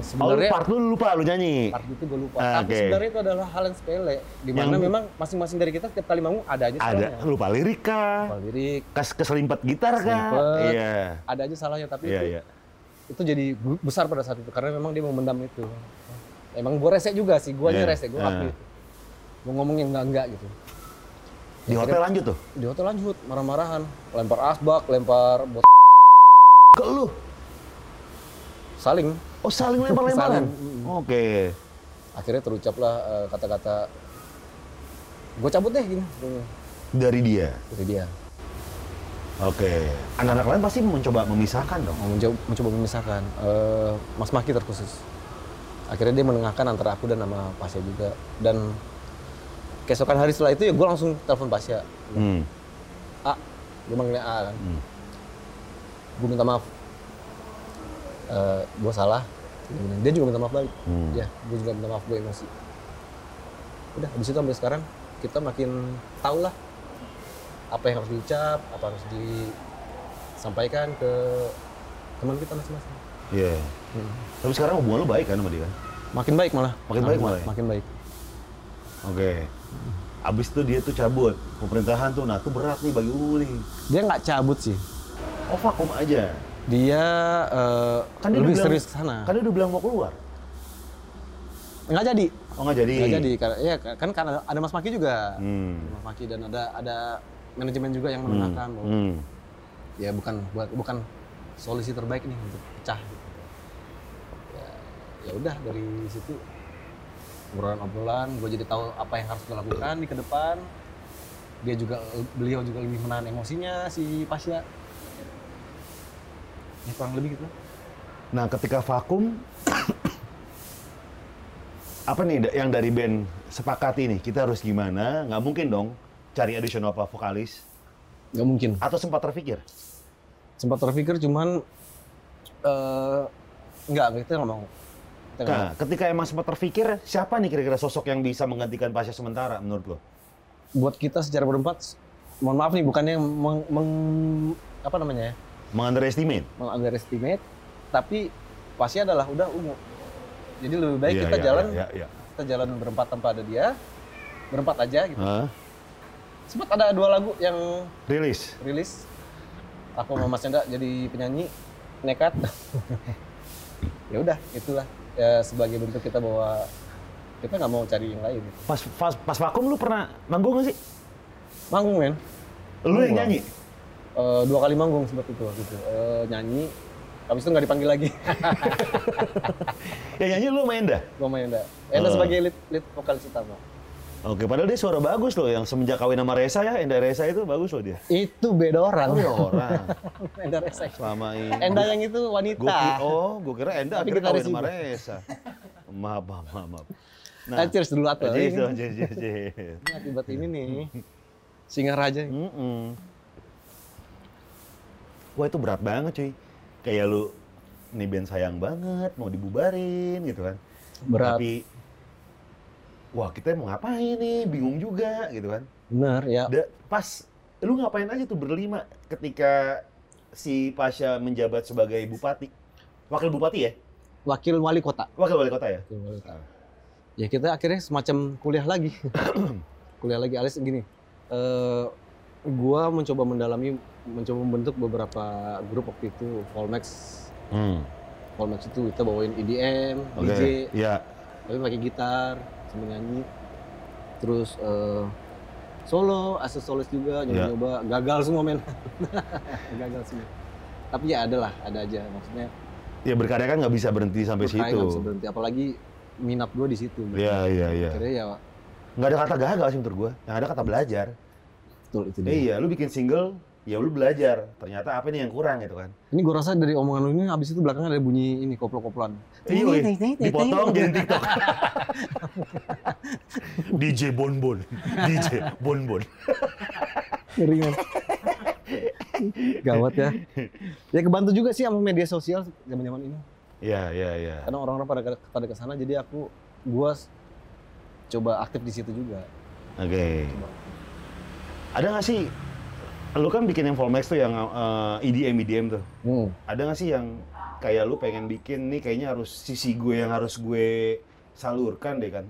Speaker 1: Oh, lu
Speaker 2: sebenarnya
Speaker 1: part lu lupa lu nyanyi.
Speaker 2: part itu gue lupa.
Speaker 1: Ah,
Speaker 2: Tapi
Speaker 1: oke.
Speaker 2: sebenarnya itu adalah hal yang sepele. Dimana
Speaker 1: Yang-
Speaker 2: memang masing-masing dari kita setiap kali manggung ada aja
Speaker 1: Ada
Speaker 2: salahnya.
Speaker 1: lupa lirik kah?
Speaker 2: Lupa lirik,
Speaker 1: Kes keserimpet gitar kah?
Speaker 2: Keserimpet.
Speaker 1: Iya.
Speaker 2: ada aja salahnya tapi
Speaker 1: Iya,
Speaker 2: itu
Speaker 1: iya.
Speaker 2: itu jadi bu- besar pada saat itu karena memang dia memendam itu emang gue rese juga sih gue
Speaker 1: Iya,
Speaker 2: aja rese gue
Speaker 1: iya.
Speaker 2: akui gue ngomong yang enggak enggak gitu
Speaker 1: Di hotel lanjut tuh.
Speaker 2: di hotel lanjut marah-marahan lempar asbak lempar bot
Speaker 1: Ke lu.
Speaker 2: saling
Speaker 1: Oh, saling lempar-lemparan.
Speaker 2: Saling,
Speaker 1: Oke.
Speaker 2: akhirnya terucaplah eh, kata-kata gue cabut deh gini katanya.
Speaker 1: Dari dia.
Speaker 2: dari dia
Speaker 1: Oke. Anak-anak lain pasti mencoba memisahkan dong.
Speaker 2: mau menjau- mencoba memisahkan Eh, Mas Maki terkhusus akhirnya dia menengahkan antara aku dan nama Pasya juga dan keesokan hari setelah itu ya gue langsung telepon Pasya
Speaker 1: Hmm.
Speaker 2: A, gue manggilnya A kan.
Speaker 1: Hmm.
Speaker 2: Gue minta maaf. Eh, gue salah. Dia bilang, Dia juga minta maaf balik.
Speaker 1: Hmm.
Speaker 2: Ya, gue juga minta maaf gue emosi. Udah, habis itu sampai sekarang kita makin tau lah apa yang harus diucap, apa harus disampaikan ke teman kita masing-masing.
Speaker 1: Iya.
Speaker 2: Hmm.
Speaker 1: Tapi sekarang hubungan lu baik kan sama dia? kan?
Speaker 2: Makin baik malah.
Speaker 1: Makin baik malah ya?
Speaker 2: Makin baik.
Speaker 1: Oke. Abis itu dia tuh cabut pemerintahan tuh, nah tuh berat nih bagi lu nih.
Speaker 2: Dia nggak cabut sih.
Speaker 1: Oh vakum aja.
Speaker 2: Dia, eh,
Speaker 1: dia
Speaker 2: lebih
Speaker 1: Kan udah bilang-
Speaker 2: serius ke sana.
Speaker 1: Kan dia udah bilang mau keluar.
Speaker 2: nggak jadi
Speaker 1: Oh nggak jadi.
Speaker 2: nggak jadi karena ya kan karena ada Mas Maki juga
Speaker 1: Hmm.
Speaker 2: Ada Mas Maki dan ada ada manajemen juga yang menengahkan bahwa
Speaker 1: Hmm.
Speaker 2: ya bukan buat bukan solusi terbaik nih untuk pecah gitu. ya ya udah dari situ obrolan-obrolan gue jadi tahu apa yang harus gue lakukan di ke depan dia juga beliau juga lebih menahan emosinya si Pasya ya kurang lebih gitu lah.
Speaker 1: Nah ketika vakum apa nih da- yang dari band sepakat ini kita harus gimana? Nggak mungkin dong cari additional apa vokalis
Speaker 2: nggak mungkin
Speaker 1: atau sempat terpikir?
Speaker 2: sempat terpikir cuman eh nggak kita nggak mau kita nggak mau.
Speaker 1: Nah, ketika emang sempat terpikir siapa nih kira-kira sosok yang bisa menggantikan Pasha sementara menurut lo?
Speaker 2: buat kita secara berempat mohon maaf nih bukannya meng, meng- apa namanya ya
Speaker 1: Meng-underestimate?
Speaker 2: meng-underestimate tapi pasti adalah udah ungu jadi lebih baik
Speaker 1: Iya,
Speaker 2: kita
Speaker 1: iya,
Speaker 2: jalan
Speaker 1: iya, iya.
Speaker 2: kita jalan berempat tanpa ada dia berempat aja gitu
Speaker 1: Hah?
Speaker 2: sempat ada dua lagu yang
Speaker 1: Rilis?
Speaker 2: rilis aku sama Mas Chandra jadi penyanyi nekat [LAUGHS] ya udah itulah ya, sebagai bentuk kita bahwa kita nggak mau cari yang lain gitu.
Speaker 1: Pas, pas, pas vakum lu pernah manggung nggak sih?
Speaker 2: manggung men
Speaker 1: Lu yang
Speaker 2: Manggung.
Speaker 1: nyanyi?
Speaker 2: Eh, dua kali manggung seperti itu waktu itu Eh, nyanyi habis itu nggak dipanggil [LAUGHS] lagi
Speaker 1: Yang Ya, nyanyi lu main dah?
Speaker 2: gua sama Enda Enda
Speaker 1: Eh.
Speaker 2: sebagai lead, lead vokalis utama
Speaker 1: Oke, padahal dia suara bagus loh. Yang semenjak kawin sama Resa ya, Enda Resa itu bagus loh dia.
Speaker 2: itu beda orang [LAUGHS]
Speaker 1: Ada orang
Speaker 2: Enda Resek
Speaker 1: selama
Speaker 2: [LAUGHS]
Speaker 1: ini.
Speaker 2: Enda yang itu
Speaker 1: Gua ki-
Speaker 2: wanita
Speaker 1: oh, gue kira Enda
Speaker 2: Tapi
Speaker 1: akhirnya
Speaker 2: kita ada
Speaker 1: kawin sama
Speaker 2: sini.
Speaker 1: Resa. Maaf, maaf, maaf.
Speaker 2: [LAUGHS]
Speaker 1: maaf.
Speaker 2: nah, cheers oh. dulu atau
Speaker 1: Jis dong,
Speaker 2: ini
Speaker 1: jis, jis, jis.
Speaker 2: akibat ini [LAUGHS] nih Singaraja
Speaker 1: Mm-mm. Wah itu berat banget cuy. Kayak lu, nih band sayang banget, mau dibubarin gitu kan.
Speaker 2: Berat.
Speaker 1: Tapi, wah kita mau ngapain nih, bingung juga gitu kan.
Speaker 2: bener ya
Speaker 1: Da- pas lu ngapain aja tuh berlima ketika si Pasha menjabat sebagai bupati, wakil bupati ya,
Speaker 2: wakil wali kota
Speaker 1: wakil wali kota ya.
Speaker 2: Wakil wali kota. ya kita akhirnya semacam kuliah [COUGHS] lagi kuliah lagi alias gini eh gua mencoba mendalami mencoba membentuk beberapa grup waktu itu Volmax Hmm, Volmax itu kita bawain E EDM, DJ,
Speaker 1: Iya.
Speaker 2: tapi pakai gitar, sambil nyanyi. Terus eh, solo, as a soloist juga
Speaker 1: Iya.
Speaker 2: nyoba-nyoba, gagal semua men. [LAUGHS] gagal semua. Tapi ya adalah, ada aja maksudnya.
Speaker 1: Ya berkarya kan nggak bisa berhenti sampai
Speaker 2: berkarya
Speaker 1: situ.
Speaker 2: nggak bisa berhenti, apalagi minat gue di situ. men.
Speaker 1: Iya iya iya.
Speaker 2: Akhirnya ya
Speaker 1: Nggak ada kata gagal sih menurut gua. Yang ada kata belajar.
Speaker 2: betul itu dia.
Speaker 1: Eh, iya, lu bikin single, ya lu belajar. Ternyata apa nih yang kurang gitu kan.
Speaker 2: Ini gue rasa dari omongan lu ini habis itu belakangnya ada bunyi ini koplo-koploan.
Speaker 1: Iya, dipotong gitu. jadi TikTok. DJ Bonbon, DJ Bonbon.
Speaker 2: Ngeri kan? Gawat ya. Ya kebantu juga sih sama media sosial zaman-zaman ini.
Speaker 1: Iya, iya, iya.
Speaker 2: karena orang-orang pada pada ke sana jadi aku gua s- coba aktif di situ juga
Speaker 1: Oke. Ada nggak sih? Lu kan bikin yang Volmax tuh yang eh, EDM EDM tuh.
Speaker 2: Hmm,
Speaker 1: Ada nggak sih yang kayak lu pengen bikin nih kayaknya harus sisi gue yang harus gue salurkan deh kan?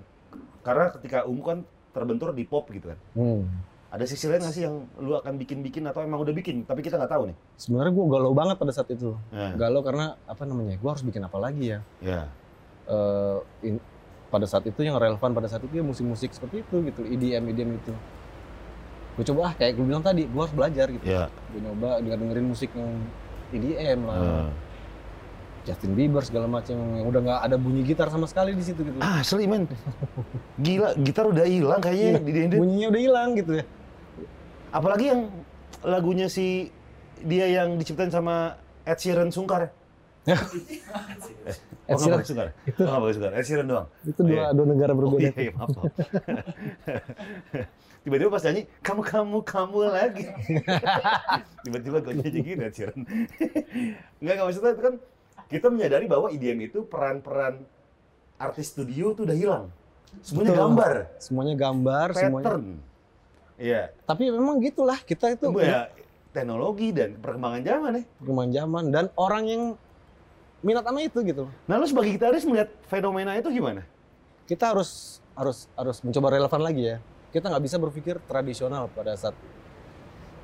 Speaker 1: Karena ketika umum kan terbentur di pop gitu kan.
Speaker 2: hmm.
Speaker 1: Ada sisi lain nggak sih yang lu akan bikin-bikin atau emang udah bikin tapi kita nggak tahu nih?
Speaker 2: sebenarnya gua galau banget pada saat itu
Speaker 1: Nah,
Speaker 2: galau karena apa namanya gua harus bikin apa lagi ya
Speaker 1: ya.
Speaker 2: Eh, in- pada saat itu yang relevan pada saat itu ya musik-musik seperti itu gitu EDM EDM itu gue coba ah kayak gue bilang tadi gua harus belajar gitu
Speaker 1: Ya.
Speaker 2: gue nyoba denger dengerin musik yang EDM lah
Speaker 1: eh.
Speaker 2: Justin Bieber segala macam yang udah nggak ada bunyi gitar sama sekali di situ gitu
Speaker 1: Ah, asli men. Gila, gitar udah hilang kayaknya
Speaker 2: Iya,
Speaker 1: di dendeng.
Speaker 2: bunyinya udah hilang gitu ya
Speaker 1: Apalagi yang lagunya si dia yang diciptain sama Ed Sheeran Sungkar.
Speaker 2: Ya. Ed
Speaker 1: Ed
Speaker 2: Sheeran.
Speaker 1: Sheeran Sungkar. Oh, nggak pakai Sungkar. Ed Sheeran doang.
Speaker 2: itu dua dua negara
Speaker 1: Oh,
Speaker 2: berbeda
Speaker 1: iya, iya, maaf. maaf. [LAUGHS] Tiba-tiba pas nyanyi, kamu, kamu, kamu lagi. [LAUGHS] Tiba-tiba gue nyanyi gini, Ed Sheeran. Nggak, nggak maksudnya itu kan kita menyadari bahwa IDM itu peran-peran artis studio itu udah hilang. Semuanya
Speaker 2: Betul.
Speaker 1: gambar,
Speaker 2: semuanya gambar semuanya
Speaker 1: pattern. Iya.
Speaker 2: tapi memang gitulah kita itu
Speaker 1: Itu ya, teknologi dan perkembangan zaman ya.
Speaker 2: perkembangan zaman dan orang yang minat sama itu gitu
Speaker 1: Nah lu sebagai gitaris melihat fenomena itu gimana?
Speaker 2: kita harus harus harus mencoba relevan lagi ya kita nggak bisa berpikir tradisional pada saat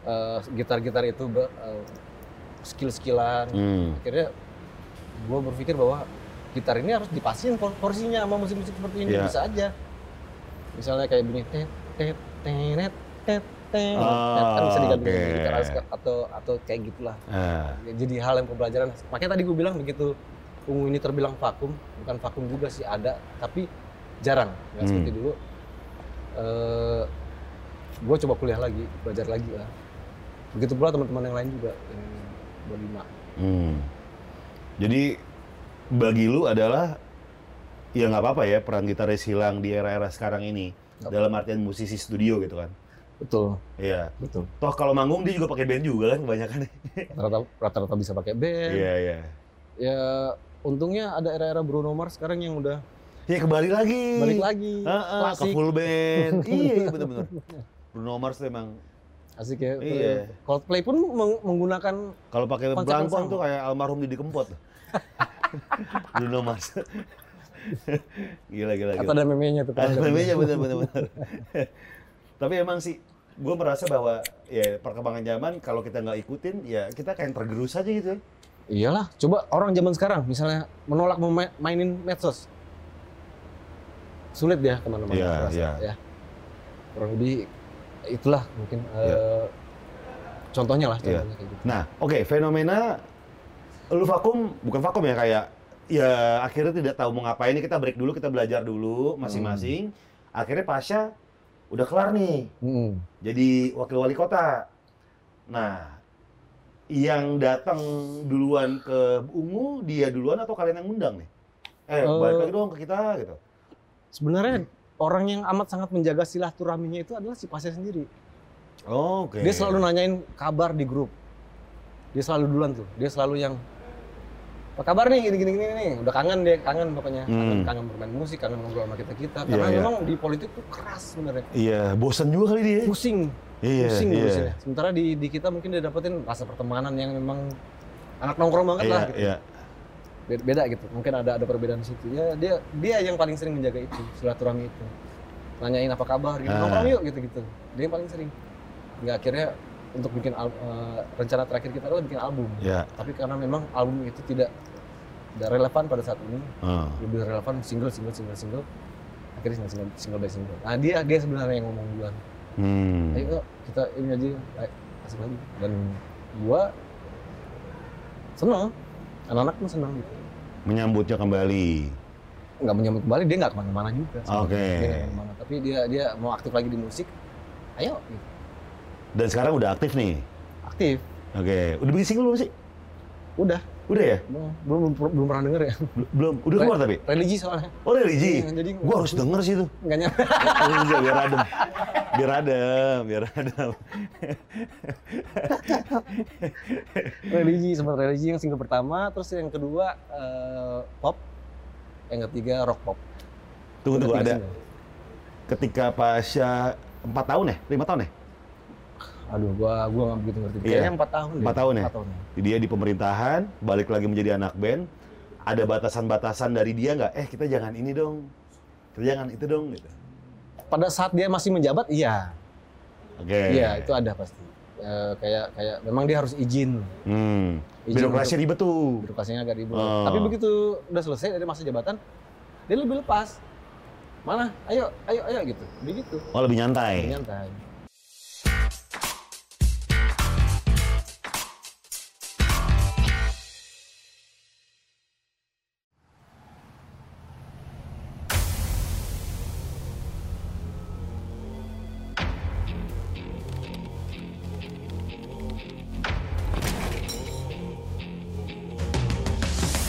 Speaker 2: eh, gitar-gitar itu Hmm. be- eh, skill-skillan akhirnya gue berpikir bahwa gitar ini harus dipasin por- porsinya sama musik-musik seperti ini
Speaker 1: Iya.
Speaker 2: bisa aja. Misalnya kayak bunyi tet tet tenet tet tet
Speaker 1: Ah,
Speaker 2: kan bisa diganti
Speaker 1: oke.
Speaker 2: gitar akustik atau atau kayak gitulah.
Speaker 1: Ah,
Speaker 2: Ya, Jadi hal yang pembelajaran. Makanya tadi gue bilang begitu ungu ini terbilang vakum, bukan vakum juga sih ada, tapi jarang. Nggak
Speaker 1: Hmm.
Speaker 2: seperti dulu. Eh, gue coba kuliah lagi, belajar lagi lah. Begitu pula teman-teman yang lain juga yang 25.
Speaker 1: hmm. Jadi bagi lu adalah ya nggak apa-apa ya peran gitaris hilang di era-era sekarang ini
Speaker 2: Nggak
Speaker 1: dalam artian musisi studio gitu kan.
Speaker 2: Betul,
Speaker 1: Iya.
Speaker 2: betul.
Speaker 1: Toh kalau manggung dia juga pakai band juga kan
Speaker 2: [LAUGHS]
Speaker 1: kebanyakan.
Speaker 2: Iya. rata-rata rata-rata bisa pakai band.
Speaker 1: Iya iya.
Speaker 2: Ya untungnya ada era-era Bruno Mars sekarang yang udah
Speaker 1: Ya kembali lagi.
Speaker 2: balik lagi.
Speaker 1: Ah, ah, ke
Speaker 2: klasik.
Speaker 1: full
Speaker 2: [LAUGHS]
Speaker 1: band. iya iya, bener-bener. Bruno Mars tuh emang
Speaker 2: Asik ya.
Speaker 1: Iya.
Speaker 2: Coldplay pun meng- menggunakan
Speaker 1: kalau pakai
Speaker 2: Konsep yang
Speaker 1: belangkon
Speaker 2: sama.
Speaker 1: tuh kayak almarhum Didi
Speaker 2: [LAUGHS]
Speaker 1: Kempot. Bruno Mars. [LAUGHS] gila gila
Speaker 2: atau
Speaker 1: gila.
Speaker 2: ada meme-nya tuh.
Speaker 1: Ada Iya. meme-nya, bener bener bener. Tapi emang sih gue merasa bahwa ya perkembangan zaman kalau kita nggak ikutin ya kita kayak tergerus aja gitu.
Speaker 2: Iyalah, coba orang zaman sekarang misalnya menolak mema- mainin medsos. Sulit ya teman-teman
Speaker 1: Iya,
Speaker 2: saya rasa,
Speaker 1: iya.
Speaker 2: ya. Kurang lebih itulah mungkin eh,
Speaker 1: Iya.
Speaker 2: contohnya lah
Speaker 1: Iya.
Speaker 2: contohnya kayak gitu.
Speaker 1: Nah, oke fenomena lu vakum bukan vakum ya kayak ya akhirnya tidak tahu mau ngapain nih kita break dulu kita belajar dulu masing-masing. Akhirnya Pasha udah kelar nih
Speaker 2: Mm-mm.
Speaker 1: jadi wakil wali kota. Nah, yang datang duluan ke Ungu dia duluan atau kalian yang ngundang nih? Eh,
Speaker 2: Eh,
Speaker 1: balik lagi dong ke kita gitu.
Speaker 2: Sebenarnya
Speaker 1: Iya.
Speaker 2: orang yang amat sangat menjaga silaturahminya itu adalah si pasien sendiri.
Speaker 1: Oh, Oke.
Speaker 2: Dia selalu nanyain kabar di grup. Dia selalu duluan tuh. Dia selalu yang apa kabar nih gini gini gini nih. Udah kangen dia, kangen pokoknya. Kangen,
Speaker 1: Hmm.
Speaker 2: kangen bermain musik, kangen ngobrol sama kita kita. Karena
Speaker 1: Iya, iya.
Speaker 2: memang di politik tuh keras sebenarnya.
Speaker 1: Iya, bosan juga kali dia.
Speaker 2: Pusing,
Speaker 1: Iya,
Speaker 2: pusing
Speaker 1: iya.
Speaker 2: ngurusinnya. Sementara di, di kita mungkin dia dapetin rasa pertemanan yang memang anak nongkrong banget
Speaker 1: Iya,
Speaker 2: lah. Gitu.
Speaker 1: iya.
Speaker 2: Beda, beda gitu. Mungkin ada ada perbedaan di situ. Ya dia dia yang paling sering menjaga itu silaturahmi itu. Nanyain apa kabar, gitu.
Speaker 1: Ah.
Speaker 2: Nongkrong yuk gitu-gitu. Dia yang paling sering. Hingga akhirnya untuk bikin al- eh, rencana terakhir kita adalah bikin album.
Speaker 1: Iya.
Speaker 2: Tapi karena memang album itu tidak tidak relevan pada saat ini,
Speaker 1: Ah.
Speaker 2: lebih relevan single single single single akhirnya single single by single. Nah dia dia sebenarnya yang ngomong duluan
Speaker 1: Hmm.
Speaker 2: ayo yuk, kita ini aja ayo, asik lagi dan gua seneng anak-anak pun seneng gitu
Speaker 1: Menyambutnya kembali.
Speaker 2: nggak menyambut kembali dia nggak kemana-mana juga sebenarnya.
Speaker 1: Oke.
Speaker 2: Dia nggak kemana-mana. tapi dia dia mau aktif lagi di musik ayo gitu.
Speaker 1: Dan sekarang udah aktif nih.
Speaker 2: aktif
Speaker 1: Oke, udah bikin single belum sih?
Speaker 2: udah
Speaker 1: Udah ya?
Speaker 2: belum belum, belum pernah denger ya [LAUGHS]
Speaker 1: Bel- Belum. Udah keluar tapi.
Speaker 2: religi soalnya
Speaker 1: Oh, religi.
Speaker 2: Iya, jadi-
Speaker 1: Gua harus denger sih
Speaker 2: [LAUGHS]
Speaker 1: tuh.
Speaker 2: nggak nyampe
Speaker 1: Iya, biar adem. Biar adem, biar adem.
Speaker 2: religi sempat religi yang single pertama terus yang kedua eh, pop yang ketiga rock pop
Speaker 1: Tunggu tunggu
Speaker 2: Tiga
Speaker 1: ada
Speaker 2: single.
Speaker 1: ketika Pasha 4 tahun ya? 5 tahun ya?
Speaker 2: aduh gua gua nggak begitu ngerti
Speaker 1: Iya.
Speaker 2: kayaknya empat tahun deh.
Speaker 1: Empat tahun ya?
Speaker 2: Empat tahun
Speaker 1: Dia di pemerintahan, balik lagi menjadi anak band. Ada batasan-batasan dari dia nggak? Eh, kita jangan ini dong. Kita jangan itu dong gitu.
Speaker 2: pada saat dia masih menjabat iya
Speaker 1: Oke.
Speaker 2: iya itu ada pasti Eh, kayak kayak memang dia harus izin
Speaker 1: Hmm.
Speaker 2: Izin
Speaker 1: Birokrasi ribet tuh.
Speaker 2: birokrasinya agak ribet
Speaker 1: Oh.
Speaker 2: tapi begitu udah selesai dari masa jabatan dia lebih lepas mana ayo ayo ayo gitu begitu
Speaker 1: Oh, lebih nyantai.
Speaker 2: nyantai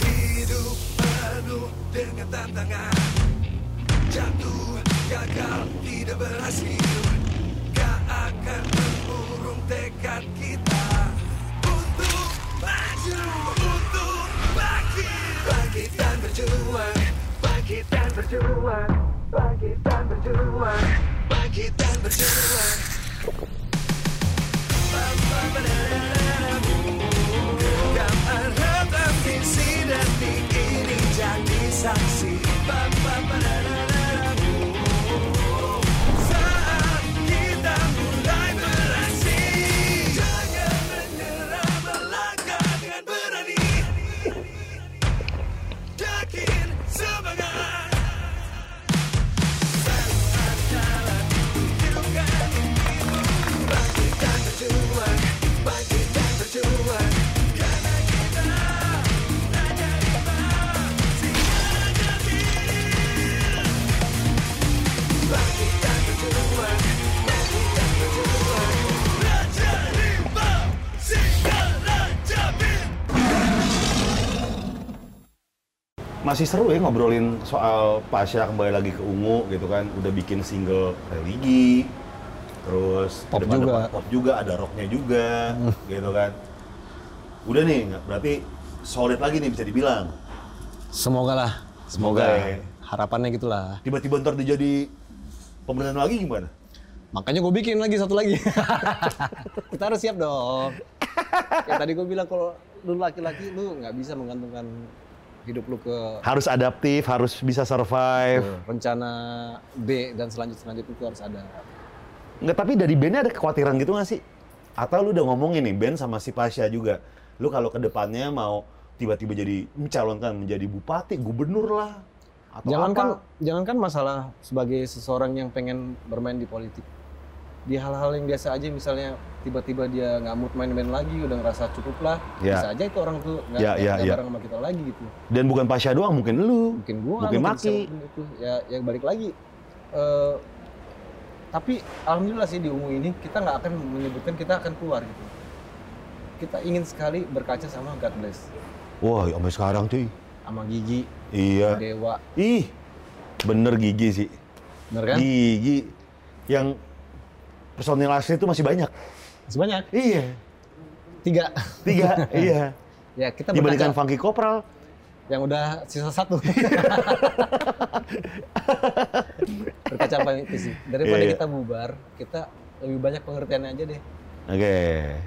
Speaker 4: Hidup penuh dengan tantangan Jatuh, gagal, tidak berhasil Gak akan mengurung tekad kita Untuk maju, untuk bangkit Bangkit dan berjuang Bangkit dan berjuang Bangkit dan berjuang Bangkit dan berjuang Genggaman harap ambisi dan ini jadi saksi Ba- ba- ba- la- la- la- la. Saat kita mulai beraksi Jangan menyerah melangkah dengan berani Yakin
Speaker 1: masih seru ya ngobrolin soal Pasha kembali lagi ke ungu gitu kan. Udah bikin single religi, terus
Speaker 2: Pop
Speaker 1: depan-depan
Speaker 2: juga.
Speaker 1: pop juga, ada rocknya
Speaker 2: [LAUGHS]
Speaker 1: juga, gitu kan. Udah nih, nggak- berarti solid lagi nih bisa dibilang.
Speaker 2: Semoga lah.
Speaker 1: Semoga ya.
Speaker 2: Harapannya gitulah.
Speaker 1: Tiba-tiba ntar dia jadi pemerintahan lagi gimana?
Speaker 2: Makanya gue bikin lagi satu lagi. [LAUGHS] Kita harus siap dong. [LAUGHS] ya tadi gue bilang kalau lu laki-laki lu nggak bisa menggantungkan hidup lu ke
Speaker 1: Harus adaptif, harus bisa survive.
Speaker 2: rencana B dan selanjut selanjutnya itu harus ada.
Speaker 1: Nggak, tapi dari bandnya ada kekhawatiran gitu nggak sih? Atau lu udah ngomongin nih band sama si Pasha juga. Lu kalau ke depannya mau tiba-tiba jadi mencalonkan menjadi bupati, gubernur lah. Atau
Speaker 2: Jangankan
Speaker 1: apa.
Speaker 2: jangankan masalah sebagai seseorang yang pengen bermain di politik. Di hal-hal yang biasa aja misalnya tiba-tiba dia nggak mood main-main lagi udah ngerasa cukup lah
Speaker 1: Ya.
Speaker 2: bisa aja itu orang tuh nggak
Speaker 1: Ya, ya,
Speaker 2: nggak
Speaker 1: ya.
Speaker 2: bareng sama kita lagi gitu
Speaker 1: Dan bukan Pasha doang, mungkin lu.
Speaker 2: mungkin gua
Speaker 1: Mungkin maki.
Speaker 2: siapapun itu ya ya balik lagi Eh, tapi alhamdulillah sih di ungu ini kita nggak akan menyebutkan kita akan keluar gitu kita ingin sekali berkaca sama God bless
Speaker 1: Wah, ya sampai sekarang cuy.
Speaker 2: sama gigi
Speaker 1: Iya.
Speaker 2: dewa
Speaker 1: Ih, bener gigi sih.
Speaker 2: bener kan
Speaker 1: Gigi yang personil asli itu masih banyak.
Speaker 2: sebanyak
Speaker 1: Iya.
Speaker 2: tiga [LAUGHS]
Speaker 1: Tiga, iya.
Speaker 2: ya kita
Speaker 1: Dibandingkan
Speaker 2: berkaca
Speaker 1: Funky Kopral,
Speaker 2: yang udah sisa
Speaker 1: [LAUGHS]
Speaker 2: satu berkaca apa itu sih daripada
Speaker 1: Iya, iya.
Speaker 2: kita bubar kita lebih banyak pengertiannya aja deh
Speaker 1: oke.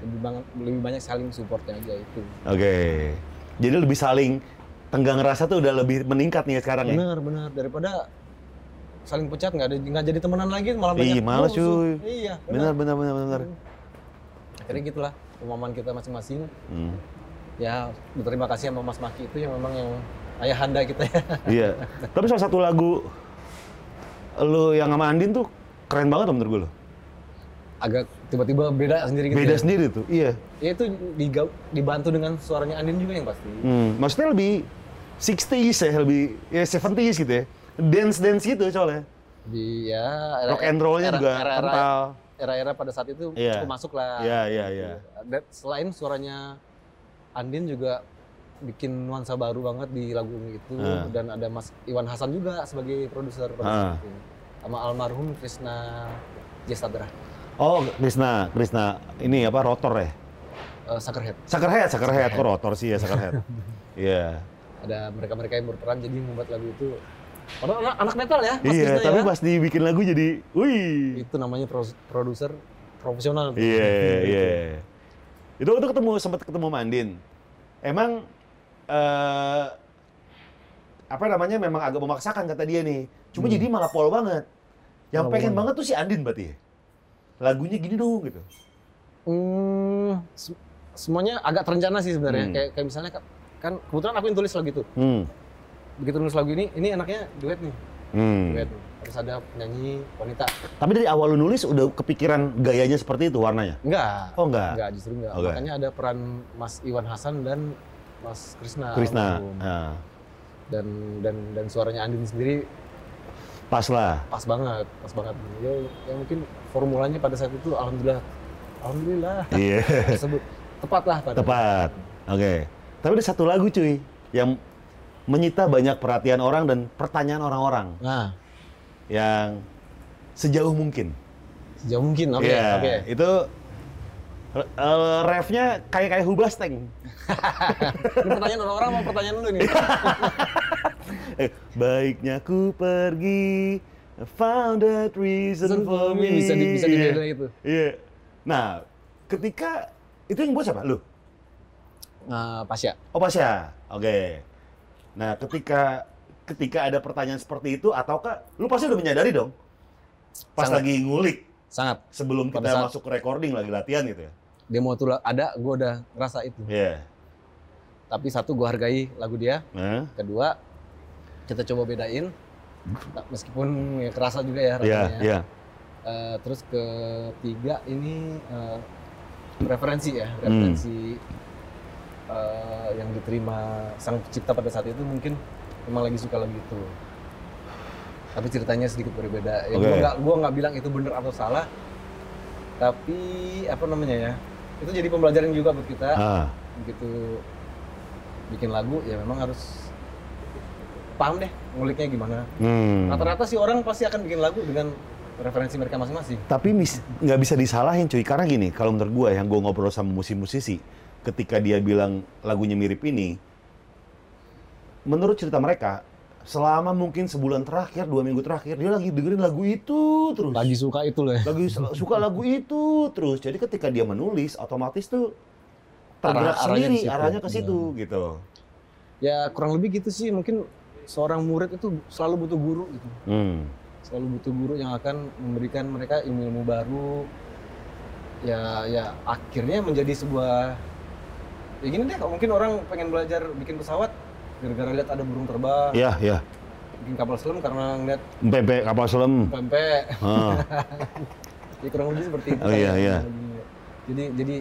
Speaker 2: lebih banget lebih banyak saling supportnya aja itu
Speaker 1: Oke. Jadi lebih saling tenggang rasa tuh udah lebih meningkat nih sekarang ya.
Speaker 2: Bener bener daripada saling pecat nggak ada nggak jadi temenan lagi malah
Speaker 1: Ih,
Speaker 2: banyak
Speaker 1: males,
Speaker 2: musuh.
Speaker 1: cuy.
Speaker 2: Iya
Speaker 1: Bener
Speaker 2: bener.
Speaker 1: bener bener bener.
Speaker 2: Akhirnya gitulah pemahaman kita masing-masing.
Speaker 1: Hmm.
Speaker 2: Ya berterima kasih sama Mas Maki itu yang memang yang ayahanda kita ya.
Speaker 1: Iya. Tapi salah satu lagu lu yang sama Andin tuh keren banget loh menurut gue lo.
Speaker 2: Agak tiba-tiba beda sendiri gitu.
Speaker 1: Beda
Speaker 2: ya.
Speaker 1: sendiri tuh. Iya.
Speaker 2: Ya, itu diga- dibantu dengan suaranya Andin juga yang pasti.
Speaker 1: Hmm. Maksudnya lebih 60s ya, lebih ya 70s gitu ya. Dance dance gitu soalnya.
Speaker 2: Di ya
Speaker 1: Rock and roll-nya juga
Speaker 2: era-era,
Speaker 1: kental.
Speaker 2: era-era pada saat itu
Speaker 1: Iya.
Speaker 2: cukup masuk lah. gitu.
Speaker 1: Iya iya iya.
Speaker 2: Dan selain suaranya Andin juga bikin nuansa baru banget di lagu Umi itu
Speaker 1: Ah.
Speaker 2: dan ada Mas Iwan Hasan juga sebagai produser
Speaker 1: Ah.
Speaker 2: pada saat itu. sama almarhum Krisna Jesadra
Speaker 1: Oh, Krisna, Krisna. Ini apa rotor ya?
Speaker 2: eh, Suckerhead
Speaker 1: Sakerhead, Sakerhead kok rotor sih ya
Speaker 2: [LAUGHS]
Speaker 1: Sakerhead. Iya.
Speaker 2: ada mereka-mereka yang berperan jadi membuat lagu itu padahal anak, anak metal ya Mas
Speaker 1: Iya,
Speaker 2: Krisna
Speaker 1: tapi
Speaker 2: ya.
Speaker 1: pas dibikin lagu jadi wih.
Speaker 2: itu namanya pro- produser profesional tuh.
Speaker 1: Iya, iya. Itu itu ketemu sempat ketemu Mandin. Emang eh apa namanya memang agak memaksakan kata dia nih. Cuma jadi malah pol banget. Yang
Speaker 2: Malah
Speaker 1: pengen
Speaker 2: pol.
Speaker 1: Hmm. banget tuh si Andin berarti. ya? Lagunya gini dong gitu.
Speaker 2: Hmm, se- semuanya agak terencana sih sebenarnya
Speaker 1: Hmm.
Speaker 2: kayak, kayak misalnya kan- kan kebetulan aku yang tulis lagu itu
Speaker 1: Hmm.
Speaker 2: begitu nulis lagu ini ini enaknya duet nih
Speaker 1: Hmm.
Speaker 2: duet terus ada penyanyi wanita
Speaker 1: Tapi dari awal lu nulis udah kepikiran gayanya seperti itu warnanya.
Speaker 2: enggak
Speaker 1: Oh enggak.
Speaker 2: enggak justru enggak
Speaker 1: Oke.
Speaker 2: makanya ada peran Mas Iwan Hasan dan Mas Krisna
Speaker 1: Krisna.
Speaker 2: almarhum.
Speaker 1: Nah,
Speaker 2: dan dan dan suaranya Andin sendiri
Speaker 1: pas lah.
Speaker 2: pas banget pas banget ya, ya mungkin formulanya pada saat itu alhamdulillah alhamdulillah
Speaker 1: Iya.
Speaker 2: tersebut tepat lah pada
Speaker 1: Tepat. Oke. Tapi ada satu lagu cuy yang menyita banyak perhatian orang dan pertanyaan orang-orang
Speaker 2: nah
Speaker 1: yang sejauh mungkin.
Speaker 2: sejauh mungkin oke
Speaker 1: Iya,
Speaker 2: oke
Speaker 1: Itu eh, refnya kayak kayak Hublasteng.
Speaker 2: ini pertanyaan orang-orang mau pertanyaan dulu
Speaker 1: [LAUGHS]
Speaker 2: nih
Speaker 1: Eh, Baiknya ku pergi I found that reason for me.
Speaker 2: bisa di, bisa gitu.
Speaker 1: Iya.
Speaker 2: dibedain itu
Speaker 1: Iya. Nah, ketika itu yang buat siapa? Lu?
Speaker 2: nah, Pasya
Speaker 1: Oh Pasya, oke. Nah ketika ketika ada pertanyaan seperti itu, ataukah lu pasti udah menyadari dong? Pas
Speaker 2: Sangat.
Speaker 1: lagi ngulik
Speaker 2: sangat
Speaker 1: sebelum
Speaker 2: Pada
Speaker 1: kita
Speaker 2: saat-
Speaker 1: masuk ke recording lagi latihan gitu ya?
Speaker 2: demo itu ada gue udah ngerasa itu
Speaker 1: Iya.
Speaker 2: tapi satu gue hargai lagu dia
Speaker 1: Nah,
Speaker 2: kedua kita coba bedain Nah, meskipun ya kerasa juga ya
Speaker 1: Iya,
Speaker 2: rasanya
Speaker 1: iya.
Speaker 2: Eh, terus ketiga ini eh, referensi ya
Speaker 1: Hmm.
Speaker 2: referensi eh, yang diterima sang pencipta pada saat itu mungkin memang lagi suka lagu itu tapi ceritanya sedikit berbeda ya, gua
Speaker 1: Oke.
Speaker 2: nggak gua nggak bilang itu benar atau salah tapi apa namanya ya itu jadi pembelajaran juga buat kita
Speaker 1: Ah,
Speaker 2: begitu bikin lagu ya memang harus paham deh nguliknya gimana.
Speaker 1: Hmm.
Speaker 2: Rata-rata sih orang pasti akan bikin lagu dengan referensi mereka masing-masing.
Speaker 1: Tapi mis- nggak bisa disalahin cuy, karena gini, kalau menurut gua yang gua ngobrol sama musisi-musisi, ketika dia bilang lagunya mirip ini, menurut cerita mereka, selama mungkin sebulan terakhir, dua minggu terakhir, dia lagi dengerin lagu itu terus.
Speaker 2: Lagi suka itu loh ya.
Speaker 1: Lagi su- suka lagu itu terus. Jadi ketika dia menulis, otomatis tuh tergerak
Speaker 2: Arah- arahnya
Speaker 1: sendiri,
Speaker 2: ke situ. Iya.
Speaker 1: arahnya ke situ gitu.
Speaker 2: Ya kurang lebih gitu sih mungkin seorang murid itu selalu butuh guru gitu.
Speaker 1: Hmm.
Speaker 2: selalu butuh guru yang akan memberikan mereka ilmu-ilmu baru ya ya akhirnya menjadi sebuah ya gini deh kalau mungkin orang pengen belajar bikin pesawat gara-gara lihat ada burung terbang
Speaker 1: Ya, ya.
Speaker 2: bikin kapal selam karena ngeliat
Speaker 1: Bebek kapal selam.
Speaker 2: pempek
Speaker 1: Ah.
Speaker 2: ya kurang lebih seperti itu
Speaker 1: Oh, iya,
Speaker 2: kan.
Speaker 1: iya.
Speaker 2: jadi jadi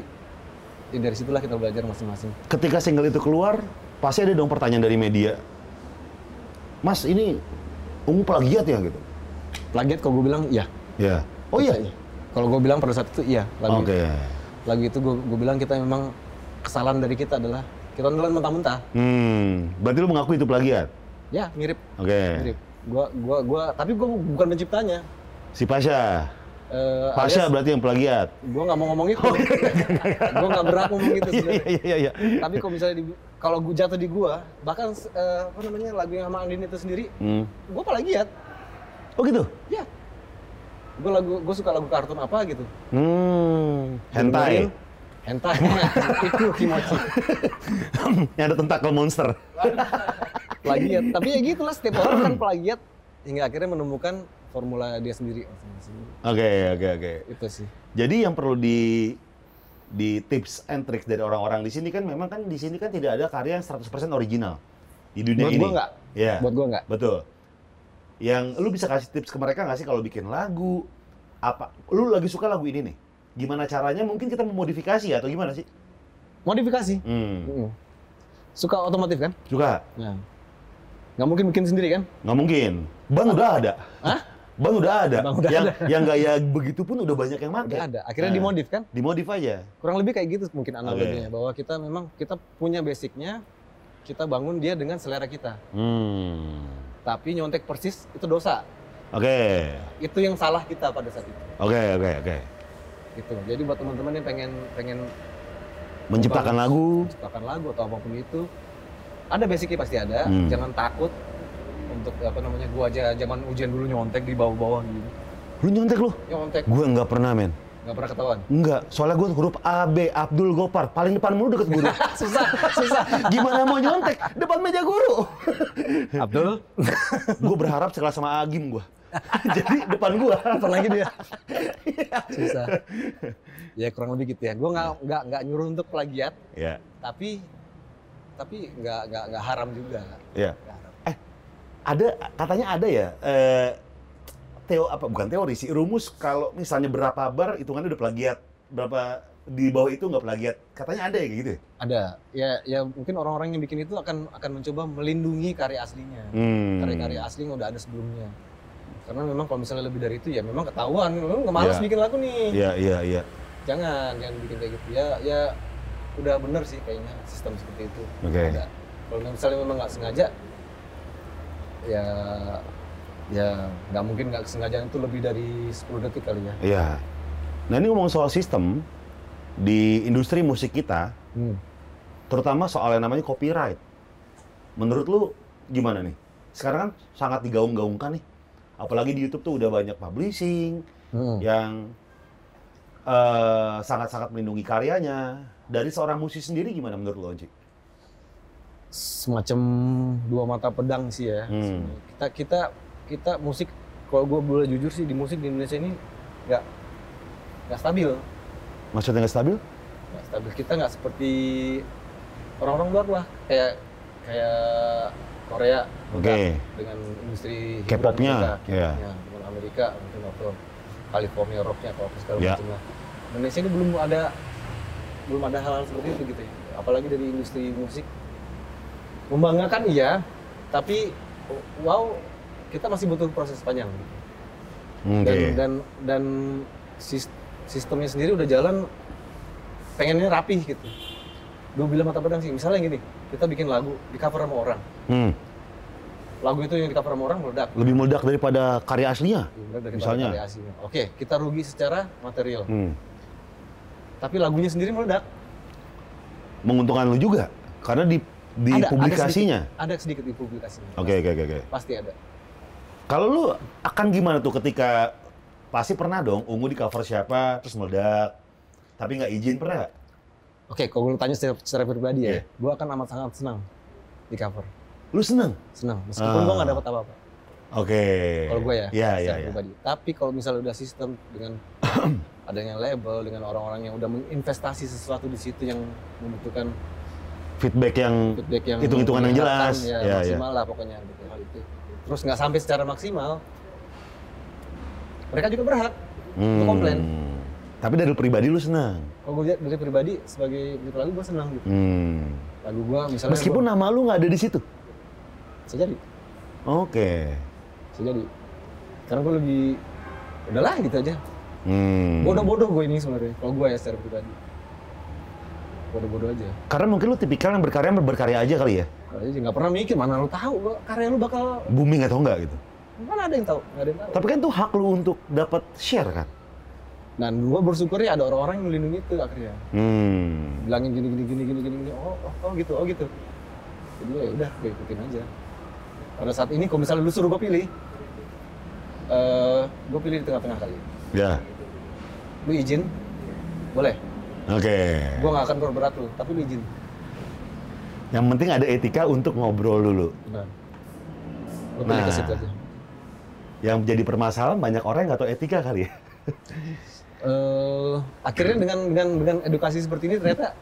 Speaker 2: ya dari situlah kita belajar masing-masing
Speaker 1: ketika single itu keluar, pasti ada dong pertanyaan dari media. Mas, ini ungu plagiat ya gitu.
Speaker 2: plagiat kalau gue bilang iya
Speaker 1: Ya. Oh iya.
Speaker 2: Kayaknya. kalau gue bilang pada saat itu iya lagu
Speaker 1: Oke.
Speaker 2: lagu itu gue gue bilang kita memang kesalahan dari kita adalah kita nelan mentah-mentah
Speaker 1: Hmm, berarti lu mengakui itu plagiat.
Speaker 2: ya mirip
Speaker 1: Oke.
Speaker 2: mirip gua gua gua tapi gua bukan penciptanya
Speaker 1: Si Pasha.
Speaker 2: Eh,
Speaker 1: Pasha
Speaker 2: alias
Speaker 1: berarti yang plagiat.
Speaker 2: gua nggak mau ngomong
Speaker 1: Oh,
Speaker 2: itu gua nggak berhak ngomong itu
Speaker 1: [LAUGHS] Iya
Speaker 2: sebenarnya
Speaker 1: iya iya, iya.
Speaker 2: tapi kalau misalnya di- kalau gua jatuh di gua bahkan eh, apa namanya lagu yang sama Andin itu sendiri
Speaker 1: Hmm.
Speaker 2: gua plagiat
Speaker 1: Oh gitu.
Speaker 2: ya gua lagu gua suka lagu kartun apa gitu
Speaker 1: Hmm. Hentai.
Speaker 2: Dengerin.
Speaker 1: [LAUGHS]
Speaker 2: hentai itu kimochi [LAUGHS]
Speaker 1: yang ada tentakel monster.
Speaker 2: plagiat tapi ya gitulah setiap orang [CLEARS THROAT] kan plagiat hingga akhirnya menemukan formula dia sendiri masing-masing.
Speaker 1: Oke oke oke.
Speaker 2: itu sih
Speaker 1: Jadi yang perlu di di tips and tricks dari orang-orang di sini kan memang kan di sini kan tidak ada karya yang 100% original di dunia
Speaker 2: Buat
Speaker 1: ini.
Speaker 2: gua nggak.
Speaker 1: Iya.
Speaker 2: buat gua nggak
Speaker 1: Betul. Yang lu bisa kasih tips ke mereka nggak sih kalau bikin lagu apa? Lu lagi suka lagu ini nih. Gimana caranya? Mungkin kita memodifikasi atau gimana sih?
Speaker 2: modifikasi
Speaker 1: Hmm.
Speaker 2: Mm-mm. suka otomotif kan
Speaker 1: Suka?
Speaker 2: Nah, nggak mungkin bikin sendiri kan?
Speaker 1: Nggak mungkin. Bang udah ada.
Speaker 2: Hah?
Speaker 1: [LAUGHS] Bang udah ada.
Speaker 2: Bang udah
Speaker 1: yang yang gaya begitu pun udah banyak yang make.
Speaker 2: Udah ada. Akhirnya
Speaker 1: Nah.
Speaker 2: dimodif kan?
Speaker 1: Dimodif aja.
Speaker 2: Kurang lebih kayak gitu mungkin analoginya bahwa kita memang kita punya basicnya, kita bangun dia dengan selera kita.
Speaker 1: Hmm.
Speaker 2: Tapi nyontek persis itu dosa.
Speaker 1: Oke.
Speaker 2: Itu yang salah kita pada saat itu.
Speaker 1: Oke, oke, oke.
Speaker 2: Gitu. Jadi buat teman-teman yang pengen pengen
Speaker 1: Menciptakan
Speaker 2: Bang.
Speaker 1: lagu.
Speaker 2: menciptakan lagu atau apapun itu, ada basicnya pasti ada.
Speaker 1: Hmm.
Speaker 2: Jangan takut untuk apa namanya gua aja zaman ujian dulu nyontek di bawah-bawah gitu.
Speaker 1: Lu nyontek lu?
Speaker 2: Nyontek
Speaker 1: Gue nggak pernah, men.
Speaker 2: nggak pernah ketahuan. [LAUGHS]
Speaker 1: Enggak, soalnya gue huruf A, B, Abdul Gopar. Paling depan mulu deket guru.
Speaker 2: susah, susah.
Speaker 1: Gimana mau nyontek? Depan meja guru.
Speaker 2: Abdul,
Speaker 1: gue berharap sekelas sama Agim gue. [LAUGHS] Jadi depan gue.
Speaker 2: apa lagi dia susah ya kurang lebih gitu ya gue nggak nggak nggak nyuruh untuk plagiat
Speaker 1: Ya,
Speaker 2: tapi tapi nggak nggak nggak haram juga
Speaker 1: ya.
Speaker 2: Nggak haram.
Speaker 1: Ada katanya ada ya. Eh, teo apa bukan teori sih rumus kalau misalnya berapa bar hitungannya udah plagiat berapa di bawah itu nggak plagiat katanya ada ya kayak gitu ya?
Speaker 2: ada ya ya mungkin orang-orang yang bikin itu akan akan mencoba melindungi karya aslinya
Speaker 1: Hmm.
Speaker 2: karya-karya asli yang udah ada sebelumnya karena memang kalau misalnya lebih dari itu ya memang ketahuan lu nggak malas
Speaker 1: Iya.
Speaker 2: bikin lagu nih
Speaker 1: Iya iya iya.
Speaker 2: jangan jangan bikin kayak gitu ya ya udah bener sih kayaknya sistem seperti itu
Speaker 1: Oke.
Speaker 2: Ada. Kalau misalnya memang nggak sengaja, ya ya nggak mungkin nggak kesengajaan itu lebih dari 10 detik kali ya.
Speaker 1: Iya. Nah ini ngomong soal sistem di industri musik kita terutama soal yang namanya copyright. Menurut lu gimana nih? Sekarang kan sangat digaung-gaungkan nih. Apalagi di YouTube tuh udah banyak publishing
Speaker 2: Hmm.
Speaker 1: yang eh, sangat-sangat melindungi karyanya. Dari seorang musisi sendiri gimana menurut lu, Onci?
Speaker 2: Semacam dua mata pedang sih ya.
Speaker 1: Hmm.
Speaker 2: sebenarnya. Kita kita kita musik kalau gue boleh jujur sih di musik di Indonesia ini nggak nggak stabil,
Speaker 1: Maksudnya nggak stabil?
Speaker 2: nggak Nah, stabil. Kita nggak seperti orang-orang luar lah kayak kayak Korea
Speaker 1: Oke.
Speaker 2: dengan industri hiburan
Speaker 1: K-popnya,
Speaker 2: mereka.
Speaker 1: iya.
Speaker 2: Ya, dengan Amerika mungkin atau California rocknya atau apa segala
Speaker 1: Iya.
Speaker 2: macam lah. Indonesia ini belum ada belum ada hal-hal seperti itu gitu ya. Apalagi dari industri musik membanggakan iya, tapi wow kita masih butuh proses panjang.
Speaker 1: Oke.
Speaker 2: Dan dan dan sis- sistemnya sendiri udah jalan pengennya rapih gitu. Dua bilang mata pedang sih. Misalnya gini, kita bikin lagu di cover sama orang
Speaker 1: Hmm.
Speaker 2: lagu itu yang kita sama orang meledak.
Speaker 1: Lebih meledak daripada karya aslinya.
Speaker 2: Daripada
Speaker 1: Misalnya?
Speaker 2: variasinya. Oke, kita rugi secara material.
Speaker 1: Hmm.
Speaker 2: Tapi lagunya sendiri meledak.
Speaker 1: Menguntungkan lu juga karena di di
Speaker 2: Ada- ada
Speaker 1: publikasinya.
Speaker 2: sedikit- Ada sedikit, di publikasinya.
Speaker 1: Oke oke oke oke.
Speaker 2: Pasti ada.
Speaker 1: Kalau lu akan gimana tuh ketika pasti pernah dong ungu di cover siapa terus meledak tapi nggak izin pernah nggak?
Speaker 2: Oke, kalau lu tanya secara, secara pribadi
Speaker 1: Iya.
Speaker 2: ya, gua akan amat sangat senang di cover.
Speaker 1: Lu seneng?
Speaker 2: Senang, meskipun
Speaker 1: Ah.
Speaker 2: gua nggak dapat apa-apa.
Speaker 1: Oke.
Speaker 2: Kalau gua ya,
Speaker 1: Iya iya
Speaker 2: secara
Speaker 1: iya.
Speaker 2: pribadi. Tapi kalau misalnya udah sistem
Speaker 1: [CLEARS THROAT]
Speaker 2: dengan adanya label, dengan orang-orang yang udah menginvestasi sesuatu di situ yang membutuhkan
Speaker 1: Feedback yang
Speaker 2: feedback yang
Speaker 1: Hitung-hitungan yang jelas.
Speaker 2: Ya,
Speaker 1: Ya,
Speaker 2: maksimal lah pokoknya gitu. hal itu. Terus nggak sampai secara maksimal, mereka juga berhak. Lu komplain.
Speaker 1: Hmm. Tapi dari lu pribadi lu seneng.
Speaker 2: Kalau gue lihat dari pribadi sebagai penyuka lagu gue senang gitu.
Speaker 1: Hmm.
Speaker 2: Lagu gue misalnya
Speaker 1: Meskipun
Speaker 2: gua-
Speaker 1: nama lu nggak ada di situ.
Speaker 2: bisa jadi,
Speaker 1: Oke.
Speaker 2: bisa jadi. Karena gue lebih udahlah gitu aja.
Speaker 1: Hmm.
Speaker 2: Bodoh-bodoh gue ini sebenarnya. Kalau gue ya secara pribadi, bodoh-bodoh aja.
Speaker 1: Karena mungkin lu tipikal yang berkarya berkarya aja kali ya.
Speaker 2: Kalau aja Iya nggak pernah mikir mana lu tahu gua- karya lu bakal
Speaker 1: Booming atau enggak gitu.
Speaker 2: mana ada yang tahu, nggak ada yang tahu.
Speaker 1: Tapi kan tuh hak lu untuk dapat share kan.
Speaker 2: Dan gue bersyukur ya ada orang-orang yang melindungi itu akhirnya.
Speaker 1: Hmm.
Speaker 2: bilangin gini gini gini gini gini, gini. Oh, oh oh gitu oh gitu jadi ya udah gue ikutin aja pada saat ini kalau misalnya lu suruh gue pilih eh gue pilih di tengah-tengah kali
Speaker 1: Ya.
Speaker 2: lu izin boleh
Speaker 1: Oke.
Speaker 2: gue gak akan berberat lu tapi lu izin
Speaker 1: Yang penting ada etika untuk ngobrol dulu.
Speaker 2: benar gue pilih
Speaker 1: Nah.
Speaker 2: ke situ aja
Speaker 1: Yang jadi permasalahan banyak orang yang nggak tahu etika kali ya.
Speaker 2: Eh, akhirnya dengan dengan dengan edukasi seperti ini ternyata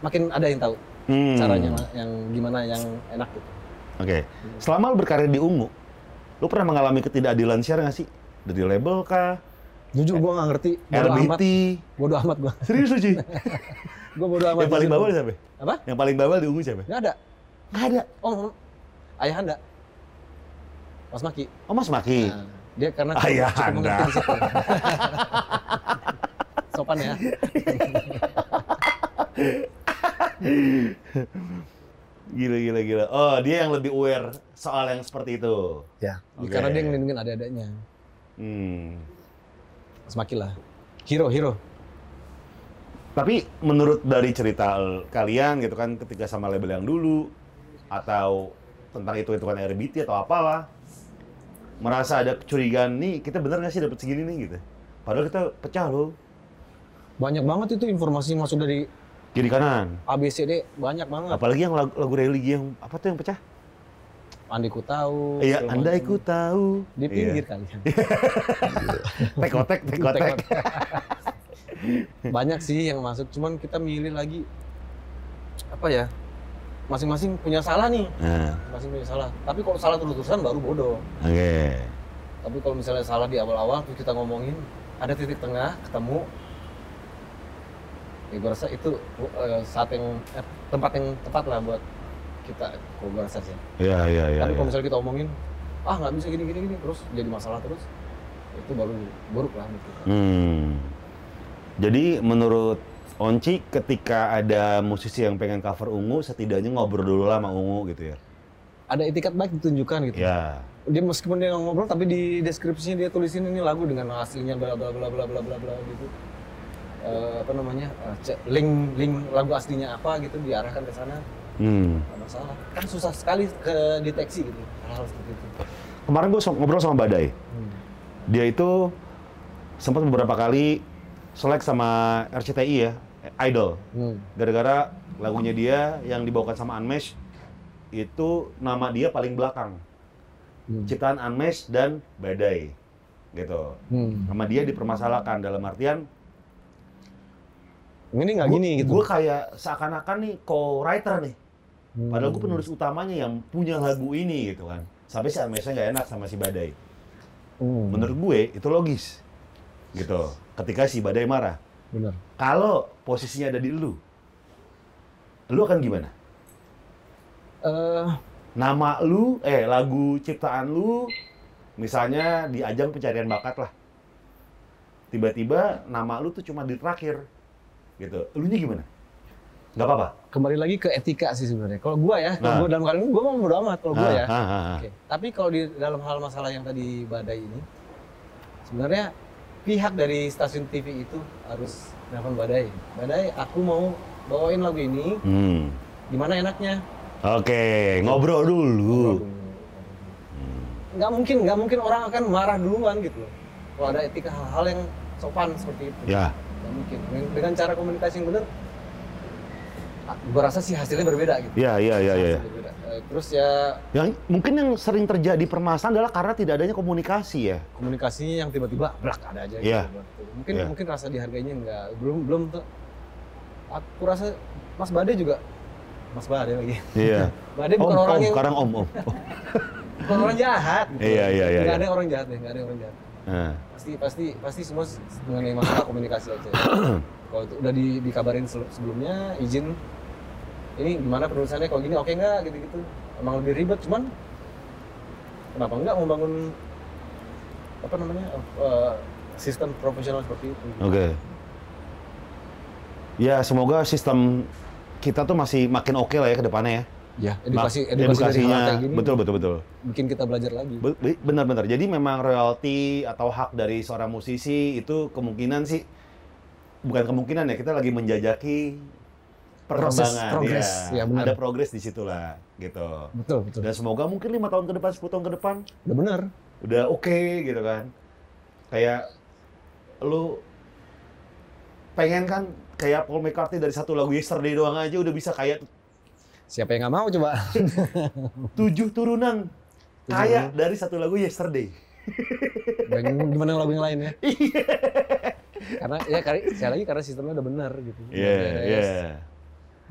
Speaker 2: makin ada yang tahu
Speaker 1: Hmm.
Speaker 2: caranya ma- yang gimana yang enak gitu
Speaker 1: Oke. Selama lu berkarya di Ungu, lu pernah mengalami ketidakadilan share nggak sih? Dari label kah?
Speaker 2: jujur gue gak ngerti bodoh amat
Speaker 1: RBT?
Speaker 2: bodoh amat [LAUGHS] gue
Speaker 1: Serius lu, Ci?
Speaker 2: gue bodoh amat
Speaker 1: Yang paling
Speaker 2: jujur.
Speaker 1: bawah di siapa?
Speaker 2: apa
Speaker 1: Yang paling bawah di Ungu siapa?
Speaker 2: Nggak ada.
Speaker 1: Nggak ada.
Speaker 2: Oh, ayahanda. Mas Maki.
Speaker 1: Oh, Mas Maki.
Speaker 2: Nah, dia karena
Speaker 1: Ayahanda.
Speaker 2: mengerti di [LAUGHS] situ. Sopan ya.
Speaker 1: Gila, gila, gila. Oh, dia yang lebih aware soal yang seperti itu.
Speaker 2: Ya.
Speaker 1: Oke.
Speaker 2: Karena dia ngelindungin adik-adiknya.
Speaker 1: Hmm.
Speaker 2: Mas Maki lah. Hero, hero.
Speaker 1: Tapi menurut dari cerita l- kalian gitu kan ketika sama label yang dulu atau tentang itu kan hitungan RBT atau apalah merasa ada kecurigaan nih kita bener nggak sih dapat segini nih gitu padahal kita pecah loh
Speaker 2: Banyak banget itu informasi yang masuk dari
Speaker 1: kiri kanan
Speaker 2: ABCD banyak banget.
Speaker 1: apalagi yang lagu, lagu religi yang apa tuh yang pecah
Speaker 2: Andiku tahu.
Speaker 1: iya
Speaker 2: segala
Speaker 1: andai
Speaker 2: macam.
Speaker 1: ku tahu
Speaker 2: Di pinggir kali.
Speaker 1: iya. tekotek tekotek
Speaker 2: [LAUGHS] banyak sih yang masuk, cuman kita milih lagi apa ya? Masing-masing punya salah nih,
Speaker 1: nah
Speaker 2: masing punya salah. Tapi kalau salah terus-terusan baru bodoh.
Speaker 1: oke
Speaker 2: Tapi kalau misalnya salah di awal-awal terus kita ngomongin ada titik tengah ketemu. Ya gue rasa itu eh, saat yang eh, tempat yang tepat lah buat kita kalau gue rasa sih.
Speaker 1: iya iya iya
Speaker 2: Tapi
Speaker 1: iya.
Speaker 2: kalau misalnya kita omongin ah nggak bisa gini gini gini terus jadi masalah terus itu baru buruk lah gitu. menurut kita.
Speaker 1: Hmm. Jadi menurut Onci ketika ada musisi yang pengen cover Ungu setidaknya ngobrol dulu lah sama Ungu gitu ya.
Speaker 2: Ada etikat baik ditunjukkan gitu.
Speaker 1: Ya.
Speaker 2: Dia meskipun dia nggak ngobrol tapi di deskripsinya dia tulisin ini lagu dengan hasilnya bla bla bla bla bla bla bla gitu. Eh, apa namanya eh, cek- link link lagu aslinya apa gitu diarahkan ke sana
Speaker 1: Hmm.
Speaker 2: Nggak masalah. Kan susah sekali ke deteksi gitu. Hal-hal seperti itu.
Speaker 1: Kemarin gue ngobrol sama Badai. Dia itu sempat beberapa kali selek sama RCTI ya, Idol. Gara-gara lagunya dia yang dibawakan sama Unmesh itu nama dia paling belakang. Ciptaan Unmesh dan Badai. Gitu.
Speaker 2: hmm.
Speaker 1: Nama dia dipermasalahkan dalam artian
Speaker 2: Ini nggak gini gitu.
Speaker 1: Gue kayak seakan-akan nih co-writer nih.
Speaker 2: Hmm.
Speaker 1: Padahal gue penulis utamanya yang punya lagu ini gitu kan. Sampai si Amesnya nggak enak sama si Badai.
Speaker 2: Hmm.
Speaker 1: Menurut gue itu logis. Gitu. Ketika si Badai marah.
Speaker 2: Benar.
Speaker 1: Kalau posisinya ada di lu, lu akan gimana?
Speaker 2: Eh,
Speaker 1: Nama lu, eh lagu ciptaan lu, misalnya di ajang pencarian bakat lah. Tiba-tiba nama lu tuh cuma di terakhir. Gitu. Elunya gimana? Gak apa-apa.
Speaker 2: kembali lagi ke etika sih sebenarnya. Kalau gua ya, kalau
Speaker 1: Nah.
Speaker 2: gua dalam kali ini gua mau bodo amat kalau gua
Speaker 1: Ah,
Speaker 2: ya.
Speaker 1: ah, ah, ah.
Speaker 2: Oke. Tapi kalau di dalam hal masalah yang tadi badai ini, sebenarnya pihak dari stasiun TV itu harus nelfon badai. Badai, aku mau bawain lagu ini,
Speaker 1: Hmm.
Speaker 2: gimana enaknya?
Speaker 1: Oke, ngobrol dulu. Hmm.
Speaker 2: Nggak mungkin, nggak mungkin orang akan marah duluan gitu loh. Kalau ada etika hal-hal yang sopan seperti itu.
Speaker 1: Ya.
Speaker 2: Nggak mungkin. Dengan- Dengan cara komunikasi yang benar, ah, gua rasa sih hasilnya berbeda gitu.
Speaker 1: Ya, ya, ya, ya. ya.
Speaker 2: Hasilnya berbeda. Eh, Terus ya
Speaker 1: Yang mungkin yang sering terjadi permasalahan adalah karena tidak adanya komunikasi ya.
Speaker 2: komunikasinya yang tiba-tiba blak ada aja
Speaker 1: Iya.
Speaker 2: gitu. Mungkin
Speaker 1: Iya.
Speaker 2: mungkin rasa dihargainya nggak belum belum tuh. Aku rasa Mas Bade juga Mas Bade lagi.
Speaker 1: Iya.
Speaker 2: Bade
Speaker 1: om,
Speaker 2: bukan orang
Speaker 1: om,
Speaker 2: yang
Speaker 1: sekarang om, om.
Speaker 2: bukan orang jahat. Gitu.
Speaker 1: Iya, iya, iya,
Speaker 2: Nggak
Speaker 1: iya.
Speaker 2: ada orang jahat deh, nggak ada orang jahat.
Speaker 1: Nah,
Speaker 2: Pasti pasti pasti semua s- mengenai masalah komunikasi aja. Kalau itu udah di- dikabarin se- sebelumnya, izin ini gimana penulisannya kalau gini oke nggak gitu-gitu. Emang lebih ribet cuman kenapa nggak membangun apa namanya eh, sistem profesional seperti itu?
Speaker 1: Oke. Ya, semoga sistem kita tuh masih makin oke lah ya ke depannya ya.
Speaker 2: Ya, edukasi,
Speaker 1: Ma-
Speaker 2: edukasi dari hal
Speaker 1: edukasinya
Speaker 2: kayak gini
Speaker 1: betul betul betul.
Speaker 2: bikin kita belajar lagi.
Speaker 1: Be- be- Benar-benar. Jadi memang royalti atau hak dari seorang musisi itu kemungkinan sih bukan kemungkinan ya kita lagi menjajaki
Speaker 2: Proses,
Speaker 1: perkembangan Iya,
Speaker 2: progres. Ya, benar.
Speaker 1: ada progres di situ lah gitu.
Speaker 2: Betul, betul.
Speaker 1: Dan semoga mungkin lima tahun ke depan, 10 tahun ke depan
Speaker 2: Udah benar.
Speaker 1: udah oke gitu kan. Kayak lu pengen kan kayak Paul McCartney dari satu lagu Yesterday doang aja udah bisa kayak
Speaker 2: Siapa yang nggak mau coba?
Speaker 1: tujuh turunan kayak dari satu lagu Yesterday.
Speaker 2: Dan gimana lagu yang lain ya? karena ya kali sekali lagi karena sistemnya udah benar gitu.
Speaker 1: Iya,
Speaker 2: Udah
Speaker 1: iya,
Speaker 2: beres.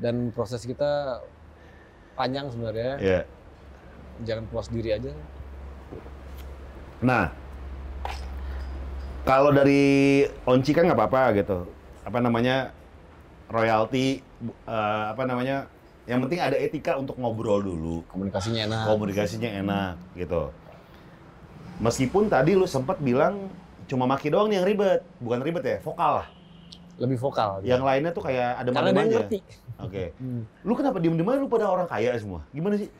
Speaker 2: Dan proses kita panjang sebenarnya.
Speaker 1: iya.
Speaker 2: Jangan puas diri aja.
Speaker 1: Nah, kalau dari Onci kan nggak apa-apa gitu. Apa namanya royalti, bu- eh, apa namanya? Yang penting ada etika untuk ngobrol dulu,
Speaker 2: Komunikasinya enak.
Speaker 1: komunikasinya enak gitu. Meskipun tadi lu sempat bilang cuma maki doang nih yang ribet, bukan ribet ya, vokal lah.
Speaker 2: Lebih vokal. gitu.
Speaker 1: Yang lainnya tuh kayak ada
Speaker 2: Karena dia
Speaker 1: Iya, aja.
Speaker 2: ngerti.
Speaker 1: Oke.
Speaker 2: Hmm.
Speaker 1: Lu kenapa diem-diem aja lu pada orang kaya semua? Gimana
Speaker 2: [LAUGHS]
Speaker 1: sih?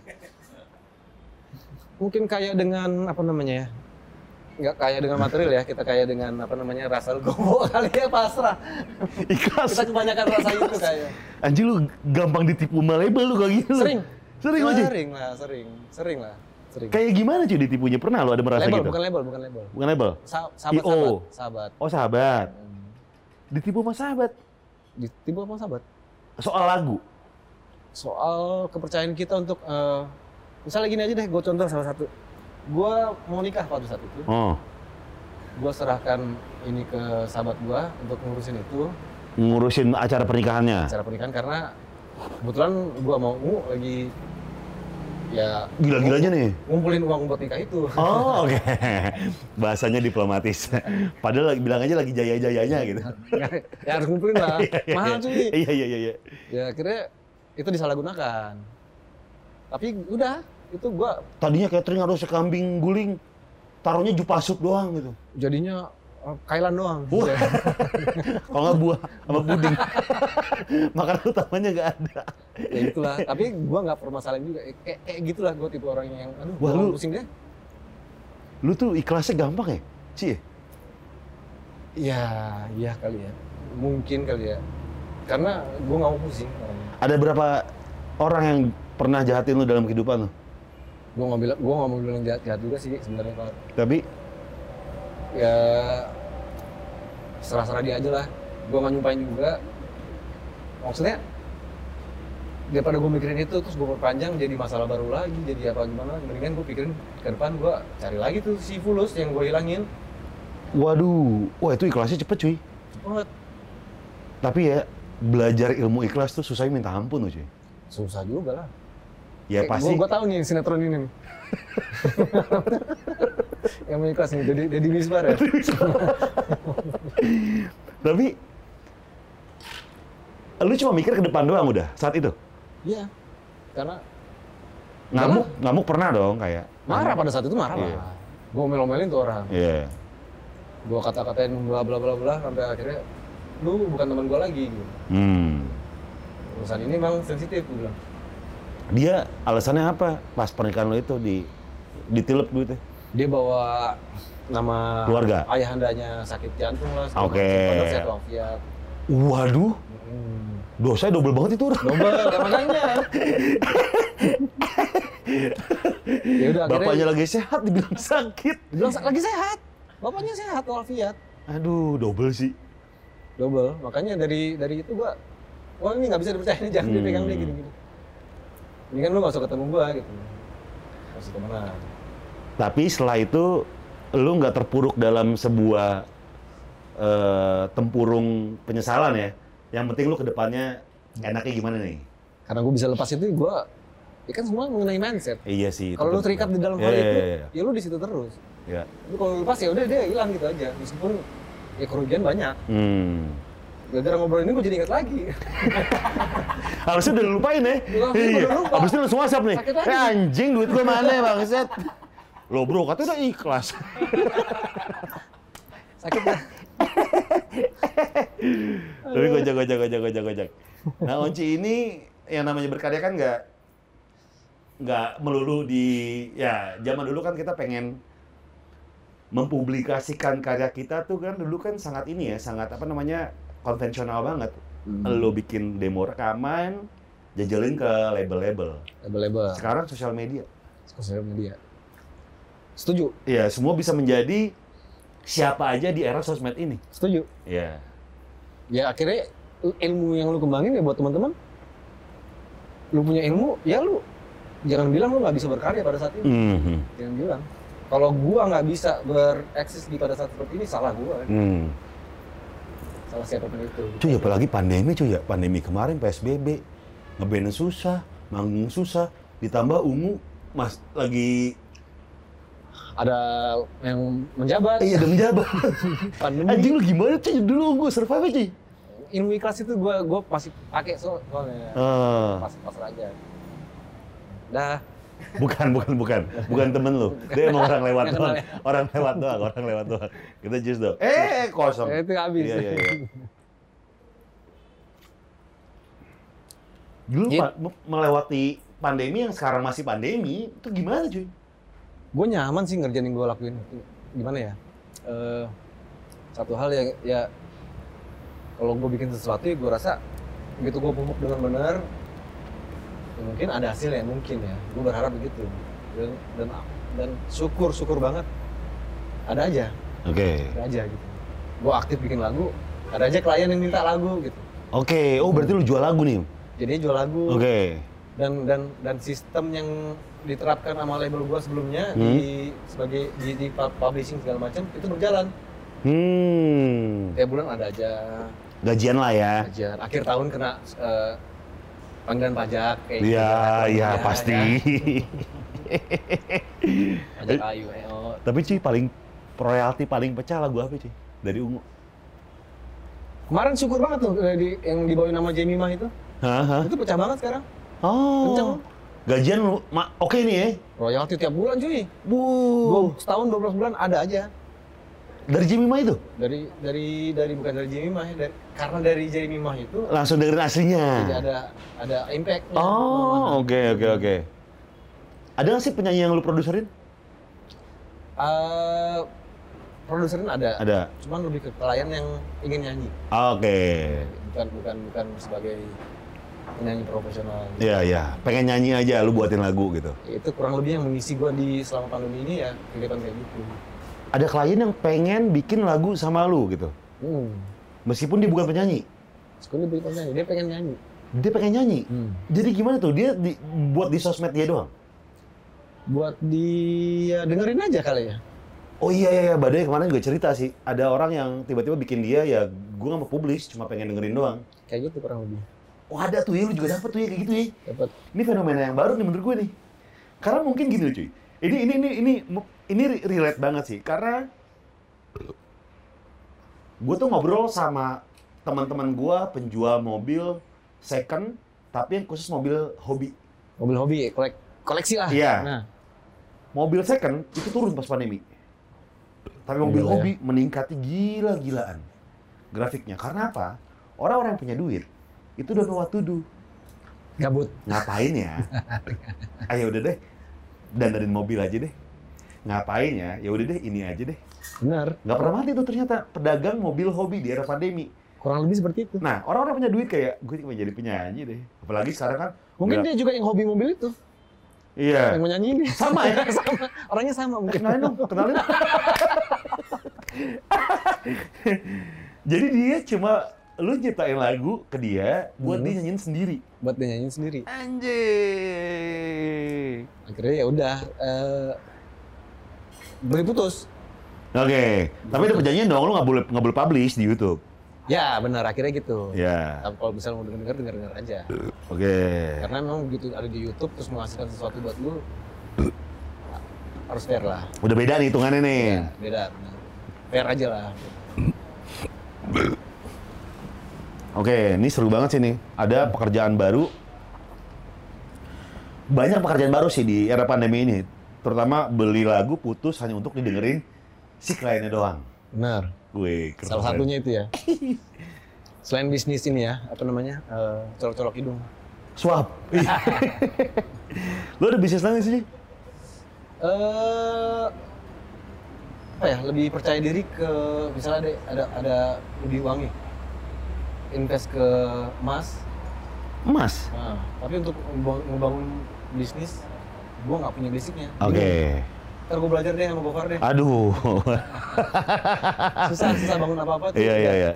Speaker 2: Mungkin kayak dengan apa namanya ya? Nggak kaya dengan material ya, kita kaya dengan apa namanya rasa legowo [LAUGHS] kali ya pasrah.
Speaker 1: Ikhlas.
Speaker 2: Kita kebanyakan rasa
Speaker 1: [LAUGHS]
Speaker 2: itu kayak.
Speaker 1: Anjir lu gampang ditipu sama label lu kayak gitu.
Speaker 2: Sering.
Speaker 1: Sering Onci?
Speaker 2: Sering lah, sering. Sering lah. Sering.
Speaker 1: Kayak gimana cuy ditipunya? Pernah lo ada merasa
Speaker 2: label,
Speaker 1: gitu?
Speaker 2: bukan label, bukan label.
Speaker 1: Bukan label?
Speaker 2: Sa- sahabat,
Speaker 1: IO.
Speaker 2: sahabat, sahabat.
Speaker 1: Oh sahabat. Ditipu sama sahabat?
Speaker 2: Ditipu apa sahabat?
Speaker 1: Soal lagu?
Speaker 2: Soal kepercayaan kita untuk eh, misalnya gini aja deh, gue contoh salah satu. Gue mau nikah pada saat itu.
Speaker 1: Oh.
Speaker 2: Gue serahkan ini ke sahabat gue untuk ngurusin itu
Speaker 1: Ngurusin acara pernikahannya?
Speaker 2: acara pernikahan karena kebetulan gue mau ungu lagi ya
Speaker 1: Gila-gilanya nih.
Speaker 2: ngumpulin uang buat nikah
Speaker 1: [LAUGHS]
Speaker 2: itu.
Speaker 1: Oh oke. Bahasanya diplomatis. Padahal lagi- bilang aja lagi jaya-jayanya gitu.
Speaker 2: ya harus ngumpulin
Speaker 1: [LAUGHS]
Speaker 2: lah. Mahal cuy.
Speaker 1: Iya, iya, iya. iya.
Speaker 2: ya akhirnya itu disalahgunakan tapi udah itu gua
Speaker 1: Tadinya catering harus kambing guling. Taruhnya jupa sup doang gitu.
Speaker 2: jadinya eh, kailan doang Iya.
Speaker 1: Wah. Kalau nggak buah sama puding. [LAUGHS] Makanan utamanya nggak ada.
Speaker 2: ya itulah tapi gua nggak permasalahan juga Eh, kayak kayak gitulah gua tipe orang yang aduh
Speaker 1: Wah,
Speaker 2: gua
Speaker 1: lu-
Speaker 2: pusing deh
Speaker 1: Lu tuh ikhlasnya gampang ya? Cie.
Speaker 2: ya iya kali ya mungkin kali ya karena gua nggak mau pusing orangnya.
Speaker 1: Ada berapa orang yang pernah jahatin lu dalam kehidupan lu?
Speaker 2: gua nggak bilang gua nggak mau bilang jahat jahat juga sih sebenarnya Pak.
Speaker 1: Tapi
Speaker 2: ya serah-serah dia aja lah gue nggak nyumpahin juga maksudnya daripada gue mikirin itu terus gue perpanjang jadi masalah baru lagi jadi apa gimana mendingan gue pikirin ke depan gue cari lagi tuh si fulus yang gue hilangin
Speaker 1: waduh, wah itu ikhlasnya cepet cuy.
Speaker 2: Wah,
Speaker 1: Tapi ya belajar ilmu ikhlas tuh susahnya minta ampun loh cuy.
Speaker 2: susah juga lah
Speaker 1: Ya pasti.
Speaker 2: gue, Eh, tahu nih yang sinetron ini
Speaker 1: [LAUGHS]
Speaker 2: nih yang punya kelas nih jadi jadi misbar
Speaker 1: [LAUGHS]
Speaker 2: ya
Speaker 1: Tapi lu cuma mikir ke depan doang udah saat itu.
Speaker 2: iya karena
Speaker 1: Ngamuk, ngamuk pernah dong kayak.
Speaker 2: marah pada saat itu marah
Speaker 1: Iya.
Speaker 2: lah gue omel-omelin tuh orang
Speaker 1: Iya.
Speaker 2: gua kata-katain bla bla bla bla sampai akhirnya lu bukan teman gua lagi gitu.
Speaker 1: Hmm.
Speaker 2: urusan ini memang sensitif gue bilang
Speaker 1: Dia alasannya apa? Pas pernikahan lo itu di ditilep ya. duitnya.
Speaker 2: dia bawa nama
Speaker 1: Keluarga?
Speaker 2: ayahandanya sakit jantung lah segala
Speaker 1: Oke.
Speaker 2: macam. Padahal sehat walafiat
Speaker 1: Waduh,
Speaker 2: hmm.
Speaker 1: dosanya double banget itu. orang.
Speaker 2: double ya
Speaker 1: [LAUGHS]
Speaker 2: makanya ya udah
Speaker 1: Bapaknya
Speaker 2: akhirnya
Speaker 1: lagi sehat dibilang sakit.
Speaker 2: dibilang sa- lagi sehat bapaknya sehat walafiat
Speaker 1: Aduh, double sih.
Speaker 2: double makanya dari dari itu gua wah ini nggak bisa dipercaya [LAUGHS] ini jangan
Speaker 1: Hmm.
Speaker 2: dipegang deh gini gini ini kan lu nggak usah ketemu gua gitu nggak usah temenan
Speaker 1: Tapi setelah itu lu nggak terpuruk dalam sebuah eh, tempurung penyesalan ya. Yang penting lu kedepannya enaknya gimana nih?
Speaker 2: karena gua bisa lepas itu gua ya kan semua mengenai mindset
Speaker 1: Iya sih. itu
Speaker 2: kalau lu
Speaker 1: penting.
Speaker 2: terikat di dalam hal
Speaker 1: Iya,
Speaker 2: itu
Speaker 1: iya, iya.
Speaker 2: ya lu di situ terus
Speaker 1: Iya.
Speaker 2: tapi kalau lu lepas ya udah dia hilang gitu aja meskipun ya kerugian banyak
Speaker 1: Hmm.
Speaker 2: gara-gara ngobrol ini gua jadi ingat lagi [LAUGHS]
Speaker 1: Harusnya udah lupain ya.
Speaker 2: Gua- gua udah lupa.
Speaker 1: Abis itu langsung WhatsApp nih.
Speaker 2: Sakit lagi.
Speaker 1: Eh, anjing duit gue
Speaker 2: [LAUGHS]
Speaker 1: mana bangset? Lo bro katanya udah ikhlas.
Speaker 2: sakit ya
Speaker 1: Tapi gojek gojek gojek gojek gojek. Nah Onci ini yang namanya berkarya kan nggak nggak melulu di ya zaman dulu kan kita pengen mempublikasikan karya kita tuh kan dulu kan sangat ini ya sangat apa namanya konvensional banget.
Speaker 2: Hmm.
Speaker 1: Lo bikin demo rekaman, jajalin ke label-label.
Speaker 2: Nah. label-label
Speaker 1: Sekarang sosial media.
Speaker 2: sosial media setuju
Speaker 1: Ya semua bisa menjadi siapa aja di era sosmed ini.
Speaker 2: setuju
Speaker 1: Ya.
Speaker 2: ya akhirnya ilmu yang lu kembangin ya buat teman-teman lu punya ilmu ya lu jangan bilang lu nggak bisa berkarya pada saat ini
Speaker 1: Mhm.
Speaker 2: jangan bilang kalau gua nggak bisa bereksis di pada saat seperti ini salah gua
Speaker 1: Hmm.
Speaker 2: salah siapapun itu
Speaker 1: Cuy, apalagi pandemi cuy ya. Pandemi kemarin PSBB, ngeband susah, manggung susah, ditambah ungu mas lagi
Speaker 2: ada yang menjabat
Speaker 1: iya udah menjabat.
Speaker 2: pandemi
Speaker 1: [LAUGHS] Anjing lu gimana cuy dulu ungu survive cuy.
Speaker 2: ilmu ikhlas itu gua gua masih pakai so- soalnya
Speaker 1: Eh,
Speaker 2: pas-pas aja dah
Speaker 1: bukan bukan bukan bukan temen lu. Dia emang orang lewat
Speaker 2: Nggak
Speaker 1: doang.
Speaker 2: kenal
Speaker 1: Orang lewat doang, orang lewat doang. Kita jus doang. Eh kosong.
Speaker 2: ya, itu habis
Speaker 1: Iya, iya, iya. Dulu
Speaker 2: Iya.
Speaker 1: pa- me- melewati pandemi yang sekarang masih pandemi itu gimana cuy?
Speaker 2: gue nyaman sih ngerjain yang gue lakuin gimana ya Eh, satu hal ya ya kalau gue bikin sesuatu ya gue rasa begitu gue pupuk dengan benar ya mungkin ada hasil ya mungkin ya gue berharap begitu dan dan, dan syukur syukur banget ada aja
Speaker 1: Oke.
Speaker 2: ada aja gitu gue aktif bikin lagu ada aja klien yang minta lagu gitu
Speaker 1: Oke, oh berarti lu jual lagu nih.
Speaker 2: jadi jual lagu
Speaker 1: Oke.
Speaker 2: dan dan dan sistem yang diterapkan sama label gua sebelumnya
Speaker 1: Hmm.
Speaker 2: di sebagai di, di pub- publishing segala macam itu berjalan
Speaker 1: Hmm.
Speaker 2: tiap bulan ada aja
Speaker 1: Gajian lah ya.
Speaker 2: aja akhir tahun kena eh, panggilan pajak kayak gitu.
Speaker 1: Iya, iya
Speaker 2: Ya,
Speaker 1: pasti.
Speaker 2: ya. pajak eh, oh. ayu EO.
Speaker 1: Tapi cuy paling royalti paling pecah lagu apa cuy? Dari ungu.
Speaker 2: kemarin syukur banget tuh eh, di, yang dibawain nama Jemima itu
Speaker 1: Hah?
Speaker 2: itu pecah banget sekarang Kenceng.
Speaker 1: Oh. Gajian lu ma- oke nih ya.
Speaker 2: royalti tiap bulan cuy
Speaker 1: Bu.
Speaker 2: Dua- setahun 12 bulan ada aja
Speaker 1: Dari Jimmy Ma itu?
Speaker 2: dari dari dari bukan dari Jemima ya dari, karena dari Jemima itu
Speaker 1: Langsung dengerin aslinya.
Speaker 2: tidak ada ada impact
Speaker 1: Hmm.
Speaker 2: ya.
Speaker 1: Oh, oke oke oke. Ada nggak sih penyanyi yang lu produserin?
Speaker 2: produsernya Eh, kan ada,
Speaker 1: Ada.
Speaker 2: cuman lebih ke klien yang ingin nyanyi
Speaker 1: Oke.
Speaker 2: bukan bukan bukan sebagai penyanyi profesional
Speaker 1: Iya iya. Pengen nyanyi aja lu buatin lagu gitu.
Speaker 2: itu kurang lebih yang mengisi gua di selama pandemi ini ya kegiatan kayak gitu
Speaker 1: Ada klien yang pengen bikin lagu sama lu gitu.
Speaker 2: hmm.
Speaker 1: Meskipun dia bukan penyanyi,
Speaker 2: sekolah beli penyanyi dia pengen nyanyi
Speaker 1: dia pengen nyanyi. Jadi gimana tuh? Dia di- buat di sosmed dia doang.
Speaker 2: buat dia dengerin aja kali ya
Speaker 1: Oh iya iya, iya. badai kemarin gue cerita sih. Ada orang yang tiba-tiba bikin dia ya gue nggak mau publish, cuma pengen dengerin doang.
Speaker 2: kayak gitu kurang lebih
Speaker 1: Oh ada tuh ya, lu juga dapet tuh ya kayak gitu ya.
Speaker 2: dapat
Speaker 1: Ini fenomena yang baru nih menurut gue nih. Karena mungkin gini loh, cuy. Ini ini ini ini ini relate banget sih. Karena gue tuh ngobrol sama teman-teman gue penjual mobil second, tapi yang khusus mobil hobi.
Speaker 2: mobil hobi kolek koleksi lah
Speaker 1: Iya.
Speaker 2: nah
Speaker 1: mobil second itu turun pas pandemi. Tapi mobil
Speaker 2: Gila ya.
Speaker 1: hobi meningkati gila-gilaan grafiknya. Karena apa? Orang-orang yang punya duit itu don't know what to do.
Speaker 2: Gabut.
Speaker 1: ngapain ya? Ayo udah deh, dandanin mobil aja deh. Ngapain ya? Ya udah deh, ini aja deh.
Speaker 2: Benar.
Speaker 1: Nggak pernah mati tuh ternyata pedagang mobil hobi di era pandemi.
Speaker 2: Kurang lebih seperti itu.
Speaker 1: Nah, orang-orang punya duit kayak gue mau jadi penyanyi deh. Apalagi sekarang kan
Speaker 2: Mungkin
Speaker 1: Nggak.
Speaker 2: dia juga yang hobi mobil itu,
Speaker 1: iya.
Speaker 2: yang menyanyi ini.
Speaker 1: Sama ya?
Speaker 2: [LAUGHS] sama. Orangnya sama mungkin.
Speaker 1: Kenalin dong, kenalin. [LAUGHS] Jadi dia cuma lu ciptain lagu ke dia buat
Speaker 2: Hmm.
Speaker 1: dia nyanyiin sendiri.
Speaker 2: Buat dia nyanyiin sendiri.
Speaker 1: Anjir.
Speaker 2: Akhirnya ya udah eh boleh putus.
Speaker 1: Oke, tapi itu perjanjian dong lu nggak boleh nggak boleh publish di YouTube.
Speaker 2: Ya benar akhirnya gitu.
Speaker 1: Ya.
Speaker 2: Tapi kalau misalnya mau denger denger denger aja.
Speaker 1: Oke.
Speaker 2: Karena memang begitu ada di YouTube terus menghasilkan sesuatu buat lu harus fair lah.
Speaker 1: Udah beda nih hitungannya nih.
Speaker 2: Ya, beda. benar. Fair aja lah.
Speaker 1: Oke, ini seru banget sih nih. Ada pekerjaan baru. Banyak pekerjaan baru sih di era pandemi ini. Terutama beli lagu putus hanya untuk didengerin si kliennya doang.
Speaker 2: Benar.
Speaker 1: Gue keren.
Speaker 2: Salah satunya itu
Speaker 1: [LAUGHS]
Speaker 2: ya. Selain bisnis ini ya, apa namanya? eh, colok-colok hidung.
Speaker 1: Swap.
Speaker 2: [LAUGHS]
Speaker 1: Ih. Lu ada bisnis lain sih?
Speaker 2: eh apa ya lebih percaya diri ke misalnya ada ada ada lebih wangi invest ke emas
Speaker 1: Emas.
Speaker 2: nah, tapi untuk ngebang- ngebangun bisnis gua nggak punya basicnya
Speaker 1: Oke.
Speaker 2: ntar gua belajar deh sama Gofar deh [LAUGHS]
Speaker 1: Aduh.
Speaker 2: susah susah bangun apa apa
Speaker 1: Ah. Iya iya iya.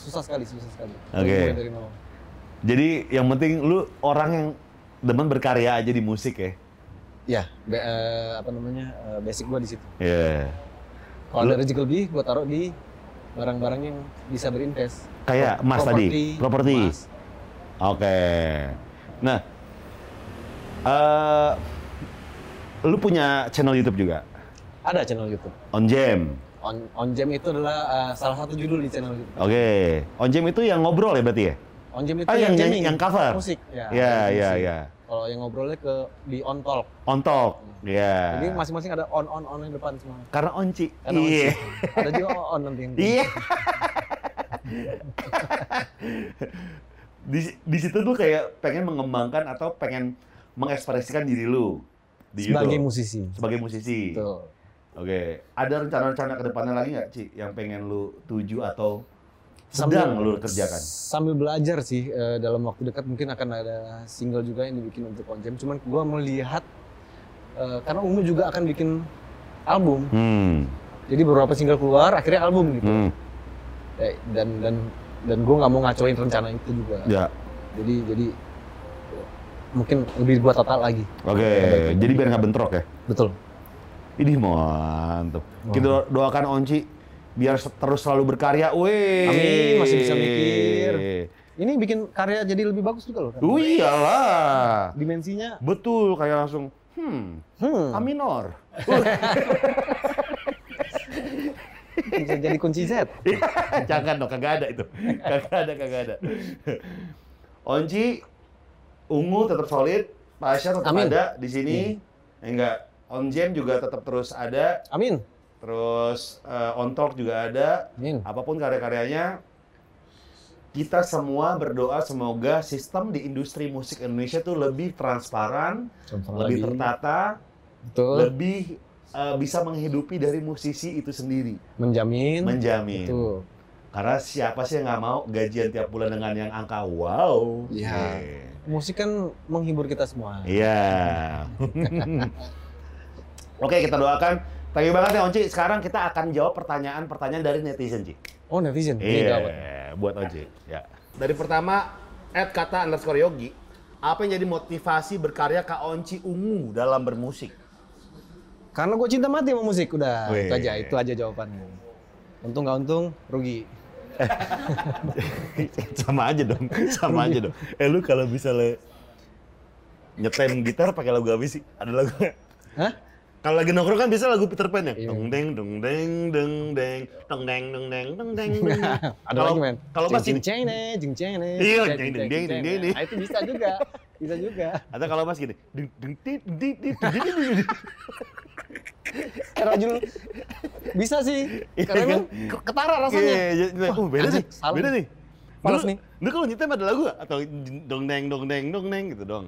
Speaker 2: susah sekali susah sekali
Speaker 1: Oke.
Speaker 2: Mulai dari nol.
Speaker 1: Jadi yang penting lu orang yang demen berkarya aja di musik ya.
Speaker 2: ya be- eh, apa namanya eh, basic gua di situ
Speaker 1: Iya.
Speaker 2: kalau ada rezeki lebih gua taruh di barang-barang yang bisa berinvest
Speaker 1: Kayak emas tadi, properti.
Speaker 2: emas.
Speaker 1: Oke. Nah, eh lu punya channel YouTube juga
Speaker 2: ada channel YouTube
Speaker 1: On Jam.
Speaker 2: On On Jam itu adalah uh, salah satu judul di channel YouTube.
Speaker 1: Oke. On Jam itu yang ngobrol ya berarti ya?
Speaker 2: On Jam itu
Speaker 1: Ah, yang-
Speaker 2: jamming,
Speaker 1: yang cover.
Speaker 2: musik. Ya,
Speaker 1: Iya,
Speaker 2: musik.
Speaker 1: iya, iya.
Speaker 2: Kalau yang ngobrolnya ke di On Talk.
Speaker 1: On Talk. Iya.
Speaker 2: Jadi masing-masing ada on on on yang depan semua.
Speaker 1: Karena onci.
Speaker 2: Karena on sih. Ada juga on, on nanti. yang-
Speaker 1: Iya. di, di situ tuh kayak pengen mengembangkan atau pengen mengekspresikan diri lu di
Speaker 2: Sebagai
Speaker 1: YouTube.
Speaker 2: musisi.
Speaker 1: sebagai musisi.
Speaker 2: Betul.
Speaker 1: Oke, ada rencana-rencana ke depannya lagi nggak, Ci, yang pengen lu tuju atau
Speaker 2: Sambil-
Speaker 1: sedang lu kerjakan?
Speaker 2: Sambil belajar sih eh, dalam waktu dekat mungkin akan ada single juga yang dibikin untuk On Jam. Cuman gua melihat eh, karena Ungu juga akan bikin album.
Speaker 1: Hmm.
Speaker 2: Jadi beberapa single keluar, akhirnya album gitu.
Speaker 1: Hmm.
Speaker 2: Eh, dan dan dan gue nggak mau ngacoin rencana itu juga
Speaker 1: Ya.
Speaker 2: jadi jadi eh, mungkin lebih gua tata lagi
Speaker 1: Oke, jadi biar nggak bentrok ya.
Speaker 2: betul
Speaker 1: Ini mantep. Kita do- doakan Onci biar se- terus selalu berkarya. Wih.
Speaker 2: Amin, masih bisa mikir. ini bikin karya jadi lebih bagus juga loh kan?
Speaker 1: Wih, iyalah.
Speaker 2: dimensinya
Speaker 1: Betul, kayak langsung, hmm,
Speaker 2: hmm,
Speaker 1: aminor. [LAUGHS]
Speaker 2: bisa jadi kunci Z
Speaker 1: Iya, Jangan dong, kagak ada itu. Kagak ada, kagak ada. Onci, Ungu tetap solid, Pasha tetap
Speaker 2: Amin. Iya.
Speaker 1: ada di sini. Enggak, On Jam juga tetap terus ada,
Speaker 2: amin
Speaker 1: terus eh, On Talk juga ada.
Speaker 2: amin
Speaker 1: Apapun karya-karyanya, kita semua berdoa semoga sistem di industri musik Indonesia tuh lebih transparan,
Speaker 2: Contoh
Speaker 1: lebih
Speaker 2: lagi.
Speaker 1: tertata,
Speaker 2: betul
Speaker 1: lebih eh, bisa menghidupi dari musisi itu sendiri,
Speaker 2: menjamin
Speaker 1: menjamin.
Speaker 2: betul
Speaker 1: Karena siapa sih yang nggak mau gajian tiap bulan dengan yang angka wow?
Speaker 2: Iya.
Speaker 1: Eh,
Speaker 2: musik kan menghibur kita semua
Speaker 1: Iya. [LAUGHS] Oke kita doakan. Thank you banget ya Onci. Sekarang kita akan jawab pertanyaan-pertanyaan dari netizen Ci.
Speaker 2: oh netizen
Speaker 1: Iya.
Speaker 2: Ini gawat.
Speaker 1: buat Onci. Ya.
Speaker 3: Dari pertama, at kata underscore Yogi, apa yang jadi motivasi berkarya Kak Onci Ungu dalam bermusik?
Speaker 2: karena gue cinta mati sama musik udah
Speaker 1: Wih.
Speaker 2: itu aja itu aja jawabannya untung nggak untung rugi
Speaker 1: [LAUGHS] sama aja dong, sama aja dong. Eh lu kalau bisa le nyetem gitar pakai lagu apa sih? Ada lagu nggak?
Speaker 2: hah
Speaker 1: Kalau lagi nongkrong kan biasa lagu Peter Pan ya.
Speaker 2: Iya.
Speaker 1: Dong deng dong deng deng deng dong deng dong deng dong deng.
Speaker 3: [LAUGHS]
Speaker 1: dong, deng.
Speaker 2: Ada
Speaker 1: Kalau-
Speaker 2: lagi men.
Speaker 1: Kalau
Speaker 2: Jeng,
Speaker 1: masih
Speaker 2: jeng ceng nih, jeng ceng nih.
Speaker 1: Iya,
Speaker 2: jeng,
Speaker 1: jeng,
Speaker 2: jeng,
Speaker 1: jeng,
Speaker 2: jeng,
Speaker 1: jeng,
Speaker 2: nih.
Speaker 1: jeng.
Speaker 2: Nah, itu bisa juga. Bisa juga.
Speaker 1: atau kalau mas gini deng deng deng deng deng deng deng, deng, deng.
Speaker 2: Karena judul Eh, bisa sih.
Speaker 1: Iya,
Speaker 2: Karena
Speaker 1: kan?
Speaker 2: emang ketara rasanya.
Speaker 1: Iya, iya, iya.
Speaker 2: Wah,
Speaker 1: Oh, beda
Speaker 2: anjing,
Speaker 1: nih,
Speaker 2: salah
Speaker 1: beda
Speaker 2: nih.
Speaker 1: nih.
Speaker 2: Males
Speaker 1: Dulu-
Speaker 2: nih.
Speaker 1: Dulu kalau nyetem ada lagu nggak? Atau dong deng dong deng dong deng gitu dong.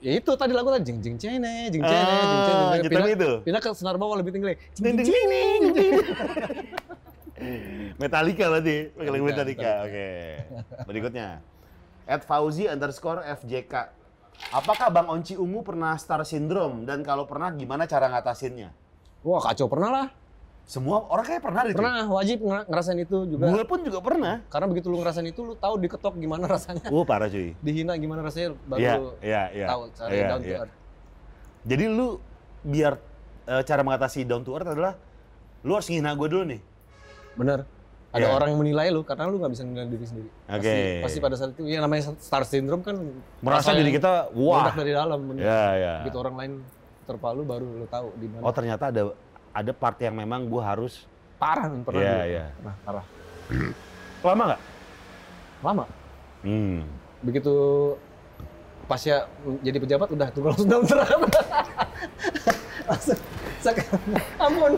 Speaker 2: Ya itu tadi lagu tadi jeng jeng cene, jeng cene, jeng cene.
Speaker 1: Ah,
Speaker 2: jeng cene.
Speaker 1: nyetem
Speaker 2: Pindah-
Speaker 1: itu.
Speaker 2: Pindah ke senar bawah lebih tinggi. lagi.
Speaker 1: Deng deng deng deng deng. [LAUGHS] Metallica berarti,
Speaker 2: Iya,
Speaker 1: pakai lagu Metallica. Oke. Berikutnya. At Fauzi underscore FJK. Apakah Bang Onci Ungu pernah star syndrome dan kalau pernah gimana cara ngatasinnya?
Speaker 2: Wah kacau pernah lah.
Speaker 1: Semua orang kayak pernah deh.
Speaker 2: Pernah wajib nger- ngerasain itu juga.
Speaker 1: Gue pun juga pernah.
Speaker 2: Karena begitu lu ngerasain itu, lu tahu diketok gimana rasanya,
Speaker 1: Oh parah cuy.
Speaker 2: dihina gimana rasanya, baru
Speaker 1: Iya,
Speaker 2: lu
Speaker 1: iya, iya.
Speaker 2: tahu cara
Speaker 1: Iya,
Speaker 2: down to
Speaker 1: iya.
Speaker 2: earth.
Speaker 1: Jadi lu biar eh, cara mengatasi down to earth adalah lu harus ngehina gue dulu nih.
Speaker 2: Bener.
Speaker 1: Iya.
Speaker 2: Ada orang yang menilai lu karena lu nggak bisa menilai diri sendiri. Pasti-
Speaker 1: Oke.
Speaker 2: Pasti, pada saat itu, ya namanya star syndrome kan
Speaker 1: Merasa
Speaker 2: rasanya
Speaker 1: diri kita wah.
Speaker 2: meledak dari dalam. bener.
Speaker 1: Ya, ya.
Speaker 2: Begitu orang lain terpalu baru lu tahu di mana.
Speaker 1: Oh ternyata ada ada part yang memang gue harus
Speaker 2: Parah men, pernah.
Speaker 1: Iya,
Speaker 2: dulu.
Speaker 1: iya.
Speaker 2: Pernah, parah.
Speaker 1: lama nggak?
Speaker 2: Lama.
Speaker 1: Hmm.
Speaker 2: Begitu pasnya jadi pejabat udah tuh langsung down to earth. [LAUGHS] langsung sak- ampun.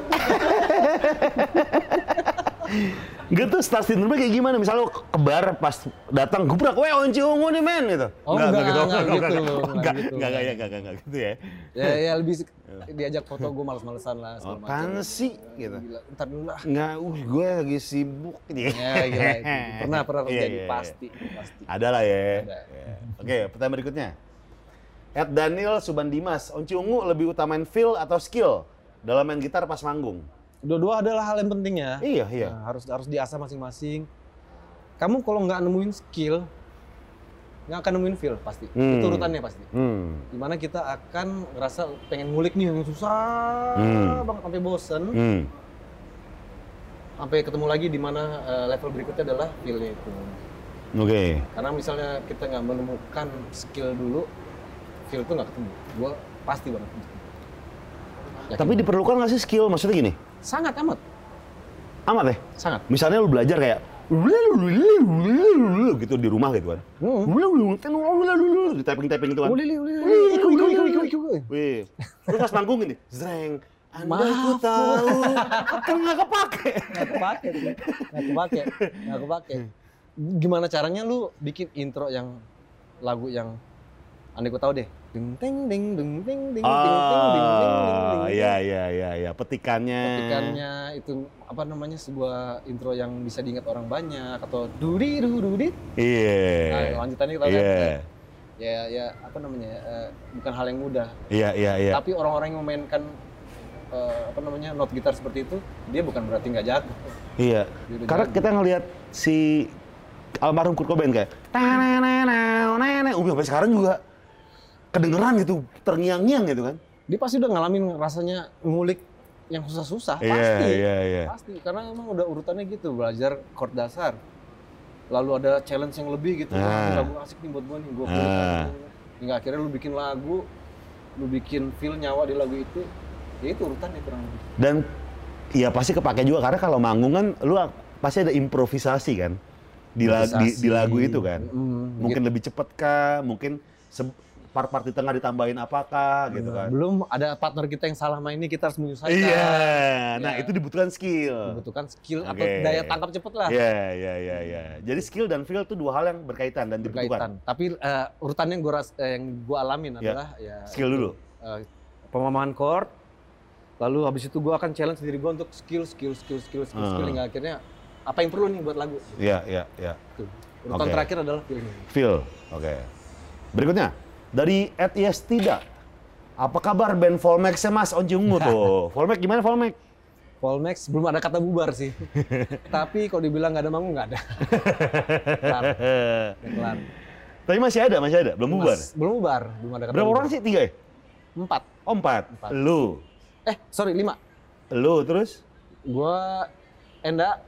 Speaker 1: Gak tuh star syndrome kayak gimana? Misalnya lo ke bar pas datang gubrak, weh onci ungu nih men gitu.
Speaker 2: Oh, enggak, enggak gitu,
Speaker 1: enggak,
Speaker 2: enggak
Speaker 1: enggak,
Speaker 2: gitu.
Speaker 1: enggak, enggak, enggak, enggak, enggak gitu ya.
Speaker 2: ya, ya lebih se- diajak foto gue males-malesan lah segala
Speaker 1: Iya.
Speaker 2: macam.
Speaker 1: Apaan sih gitu.
Speaker 2: Gila, ntar dulu lah.
Speaker 1: Enggak, uh, gue lagi sibuk [LAUGHS] gitu.
Speaker 2: Ya gila, itu.
Speaker 1: [LAUGHS]
Speaker 2: pernah pernah
Speaker 1: Iya,
Speaker 2: terjadi
Speaker 1: iya, iya.
Speaker 2: pasti pasti.
Speaker 1: Ada lah ya.
Speaker 2: Ada.
Speaker 1: Ya. Oke, pertanyaan berikutnya. At Daniel Subandimas, Onci Ungu lebih utamain feel atau skill dalam main gitar pas manggung?
Speaker 2: Dua-dua adalah hal yang penting ya.
Speaker 1: Iya, iya.
Speaker 2: Nah, harus harus diasah masing-masing. Kamu kalau nggak nemuin skill, nggak akan nemuin feel pasti.
Speaker 1: Hmm.
Speaker 2: Itu urutannya pasti.
Speaker 1: Hmm.
Speaker 2: Dimana kita akan ngerasa pengen ngulik nih yang susah
Speaker 1: Hmm.
Speaker 2: banget sampai bosen,
Speaker 1: Hmm.
Speaker 2: sampai ketemu lagi di mana eh, level berikutnya adalah feelnya itu.
Speaker 1: Oke.
Speaker 2: Karena misalnya kita nggak menemukan skill dulu, skill itu nggak ketemu. Gua pasti banget. Yakin.
Speaker 1: Tapi diperlukan nggak sih skill? Maksudnya gini,
Speaker 2: sangat amat,
Speaker 1: amat ya?
Speaker 2: sangat.
Speaker 1: Misalnya lu belajar kayak gitu di rumah gitu kan.
Speaker 2: Hmm.
Speaker 1: Di typing-typing itu kan.
Speaker 2: Uli, uli, uli,
Speaker 1: Wih, iku, iku, iku, iku,
Speaker 2: iku.
Speaker 1: Wih. Terus pas manggung ini, zreng. Anda
Speaker 2: Maaf,
Speaker 1: ku
Speaker 2: Bu.
Speaker 1: tahu, kan nggak kepake.
Speaker 2: Nggak kepake, tuh. nggak kepake, nggak kepake.
Speaker 1: Hmm.
Speaker 2: Gimana caranya lu bikin intro yang lagu yang aneh gua tahu deh. Ding ding ding ding ding ding ding ding ding ding
Speaker 1: Ah,
Speaker 2: ding.
Speaker 1: iya iya iya iya, petikannya.
Speaker 2: petikannya itu apa namanya sebuah intro yang bisa diingat orang banyak atau duri du dudit nah,
Speaker 1: Iya.
Speaker 2: lanjutannya kita lihat
Speaker 1: Iya.
Speaker 2: ya ya apa namanya ya, eh, bukan hal yang mudah
Speaker 1: Iya iya iya.
Speaker 2: tapi orang-orang yang memainkan eh, apa namanya not gitar seperti itu dia bukan berarti nggak jago
Speaker 1: Iya. Karena kita ngelihat si almarhum Kurt Cobain kayak tanananananana. Uh, sampai sekarang juga kedengeran gitu, terngiang-ngiang gitu kan.
Speaker 2: dia pasti udah ngalamin rasanya ngulik yang susah-susah
Speaker 1: Iya,
Speaker 2: pasti
Speaker 1: iya, iya.
Speaker 2: pasti karena emang udah urutannya gitu belajar chord dasar lalu ada challenge yang lebih gitu Wah, ini
Speaker 1: Ah.
Speaker 2: lagu asik nih buat gua nih gua
Speaker 1: Ah.
Speaker 2: kulik aja. hingga akhirnya lu bikin lagu lu bikin feel nyawa di lagu itu ya itu urutannya kurang lebih
Speaker 1: Dan ya pasti kepake juga karena kalau manggung kan lu ak- pasti ada improvisasi kan di, la- di, di lagu itu kan.
Speaker 2: Mm,
Speaker 1: Mungkin lebih cepet kah, mungkin se- part-part di tengah ditambahin apakah gitu kan.
Speaker 2: belum ada partner kita yang salah mainnya kita harus menyusahkan
Speaker 1: Iya, nah
Speaker 2: Iya.
Speaker 1: itu dibutuhkan skill.
Speaker 2: membutuhkan skill atau
Speaker 1: Oke.
Speaker 2: daya tangkap cepet lah
Speaker 1: Iya, iya, iya, iya. Jadi skill dan feel itu dua hal yang berkaitan dan dibutuhkan.
Speaker 2: berkaitan tapi eh, urutannya yang gua ras- eh, yang gua alamin
Speaker 1: Iya.
Speaker 2: adalah ya
Speaker 1: Skill dulu.
Speaker 2: eh, pemahaman chord lalu habis itu gua akan challenge diri gua untuk skill skill skill skill skill
Speaker 1: Hmm.
Speaker 2: skill hingga akhirnya apa yang perlu nih buat lagu
Speaker 1: Iya, iya, iya.
Speaker 2: Tuh. urutan
Speaker 1: Oke.
Speaker 2: terakhir adalah feeling
Speaker 1: Feel. Oke. Berikutnya dari at yes tidak. Apa kabar band Volmax ya Mas Onci
Speaker 2: [LAUGHS]
Speaker 1: Ungu tuh? Volmax gimana Volmax? [LAUGHS]
Speaker 2: Volmax belum ada kata bubar sih tapi kalau dibilang nggak ada manggung nggak
Speaker 1: [LAUGHS]
Speaker 2: ada Kelar, udah kelar.
Speaker 1: Tapi masih ada, masih ada, belum bubar.
Speaker 2: Mas, belum bubar belum ada kata
Speaker 1: Berapa
Speaker 2: bubar.
Speaker 1: orang sih? Tiga ya?
Speaker 2: empat
Speaker 1: Oh, empat.
Speaker 2: Empat.
Speaker 1: Lu,
Speaker 2: eh sorry lima
Speaker 1: lu terus
Speaker 2: gua Enda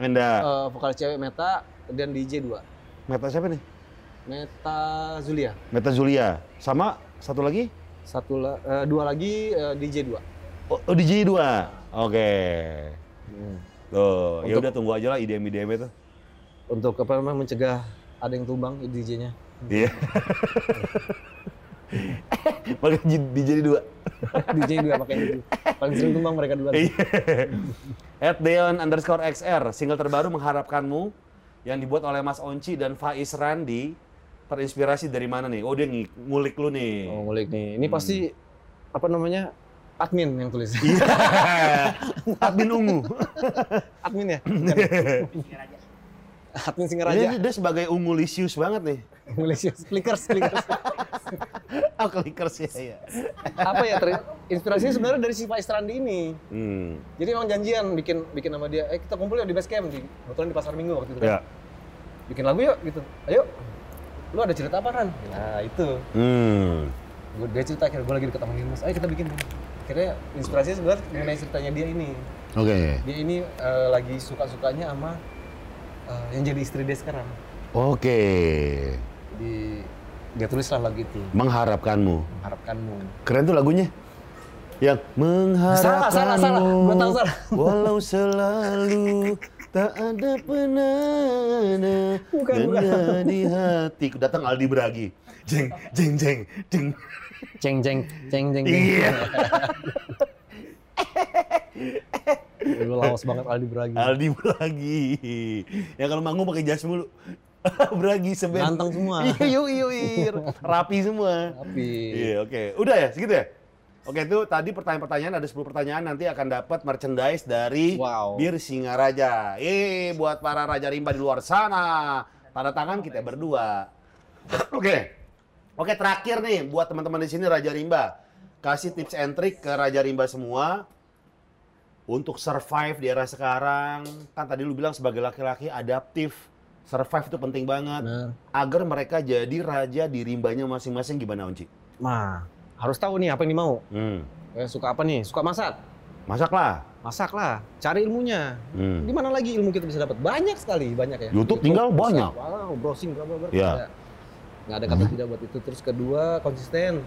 Speaker 1: Enda.
Speaker 2: eh, vokal cewek Meta dan DJ dua
Speaker 1: Meta siapa nih?
Speaker 2: Meta Zulia
Speaker 1: Meta Zulia. Sama satu lagi?
Speaker 2: satu la- eh, dua lagi eh, DJ dua
Speaker 1: Oh, oh, DJ dua. Oke. Tuh, ya
Speaker 2: Untuk-
Speaker 1: udah tunggu aja lah IDM IDM itu.
Speaker 2: untuk apa namanya mencegah ada yang tumbang DJ-nya. [LAUGHS]
Speaker 1: Iya. [LAUGHS] Pakai j- DJ dua.
Speaker 2: DJ juga pakai itu. Paling sering tumbang mereka dua.
Speaker 1: Iya. At Deon underscore XR, single terbaru mengharapkanmu yang dibuat oleh Mas Onci dan Faiz Randi terinspirasi dari mana nih? Oh dia ng- ngulik lu nih. [LAUGHS]
Speaker 2: Oh, ngulik nih. Ini pasti apa namanya? Admin yang tulis.
Speaker 1: Iya. Admin ungu.
Speaker 2: [LAUGHS] Admin ya? Bukan. Admin Singaraja.
Speaker 1: Dia, dia sebagai ungu lisius banget nih.
Speaker 2: Nulis ya. Clickers, clickers.
Speaker 1: Oh, clickers ya. ya.
Speaker 2: apa ya? Ter- inspirasinya sebenarnya dari si Pak Istrandi ini.
Speaker 1: Hmm.
Speaker 2: Jadi emang janjian bikin bikin sama dia. Eh kita kumpul yuk di base camp di kebetulan di pasar minggu waktu itu. kan.
Speaker 1: Ya.
Speaker 2: Bikin lagu yuk gitu. Ayo. Lu ada cerita apa Ran? Nah itu.
Speaker 1: Hmm.
Speaker 2: Gue dia cerita akhirnya gue lagi deket sama Mas. Ayo kita bikin. Akhirnya inspirasinya sebenarnya mengenai ceritanya dia ini.
Speaker 1: Oke.
Speaker 2: Dia ini eh, lagi suka-sukanya sama eh, yang jadi istri dia sekarang.
Speaker 1: Oke.
Speaker 2: Di dia tulislah lagu itu.
Speaker 1: Mengharapkanmu.
Speaker 2: Harapkanmu.
Speaker 1: Keren tuh lagunya. Yang mengharapkanmu.
Speaker 2: salah, salah. Gua tahu salah. [LAUGHS]
Speaker 1: Walau selalu tak ada penanda
Speaker 2: Bukan, bukan.
Speaker 1: denda di hatiku. Datang Aldi Bragi. Jeng, jeng, jeng, jeng.
Speaker 2: Ceng ceng ceng ceng. ceng.
Speaker 1: Iya.
Speaker 2: Lu lawas banget Aldi Bragi.
Speaker 1: Aldi Bragi. Ya kalau manggung pakai jas mulu. [LAUGHS] Bragi seben.
Speaker 2: Ganteng semua.
Speaker 1: Iya, yuk, yuk, yuk. Rapi semua.
Speaker 2: Tapi
Speaker 1: Iya, oke. Udah ya, segitu ya? Oke, itu tadi pertanyaan-pertanyaan ada 10 pertanyaan nanti akan dapat merchandise dari
Speaker 2: Wow.
Speaker 1: Bir Singaraja. Eh, buat para raja rimba di luar sana. Tanda tangan kita berdua. Oke. Oke, terakhir nih buat teman-teman di sini raja rimba. Kasih tips and trick ke raja rimba semua untuk survive di era sekarang. Kan tadi lu bilang sebagai laki-laki adaptif. Survive itu penting banget.
Speaker 2: Bener.
Speaker 1: Agar mereka jadi raja di rimbanya masing-masing gimana, Onci?
Speaker 2: mah harus tahu nih apa yang dimau.
Speaker 1: Hmm.
Speaker 2: Eh, suka apa nih? Suka masak.
Speaker 1: Masaklah.
Speaker 2: Masak lah, cari ilmunya.
Speaker 1: Hmm.
Speaker 2: Di mana lagi ilmu kita bisa dapat? Banyak sekali, banyak ya.
Speaker 1: YouTube tinggal
Speaker 2: bisa.
Speaker 1: banyak. Hmm.
Speaker 2: Wow, browsing bla bla bla.
Speaker 1: Iya.
Speaker 2: Ada. Nggak ada kata tidak buat itu. Terus kedua, konsisten.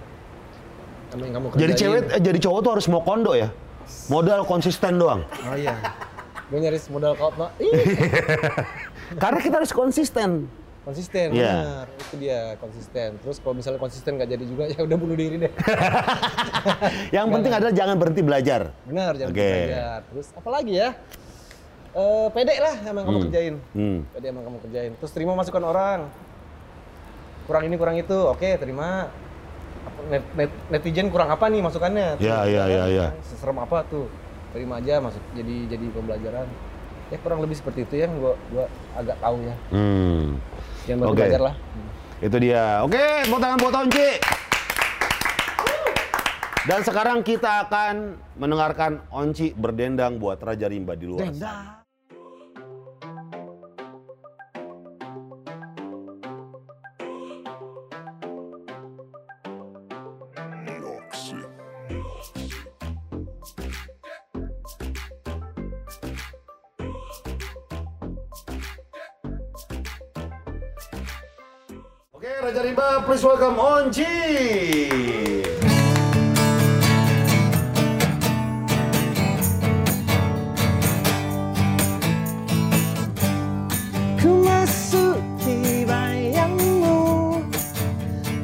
Speaker 2: Sama yang kamu
Speaker 1: Jadi
Speaker 2: kerjain.
Speaker 1: cewek, eh, jadi cowok tuh harus mau kondo ya. Modal konsisten doang.
Speaker 2: Oh iya. Gue nyaris modal kau Pak.
Speaker 1: [LAUGHS]
Speaker 2: Ih,
Speaker 1: Karena kita harus konsisten.
Speaker 2: konsisten.
Speaker 1: Iya.
Speaker 2: Benar, itu dia konsisten. Terus kalau misalnya konsisten nggak jadi juga, [LAUGHS] ya udah bunuh diri deh.
Speaker 1: Yang penting adalah jangan berhenti belajar.
Speaker 2: Benar, jangan
Speaker 1: Oke.
Speaker 2: belajar. Terus apa lagi ya? Eh, pede lah sama yang kamu kerjain.
Speaker 1: Hmm.
Speaker 2: Tadi emang kamu kerjain. Terus terima masukan orang. Kurang ini, kurang itu. Oke, terima. Apa, net- net- netizen kurang apa nih masukannya?
Speaker 1: Iya,
Speaker 2: Terus,
Speaker 1: iya, iya, iya.
Speaker 2: Seserem apa tuh? Terima aja masuk jadi jadi pembelajaran. Ya kurang lebih seperti itu ya, gua gua agak tahu ya.
Speaker 1: Hmm.
Speaker 2: Jangan bantu
Speaker 1: Oke.
Speaker 2: belajar lah.
Speaker 1: Itu dia. Oke, mau tangan buat Onci. Dan sekarang kita akan mendengarkan Onci berdendang buat Raja Rimba di luar. sana. Oke, Raja Rimba, please welcome Onci.
Speaker 2: Ku masuk di bayangmu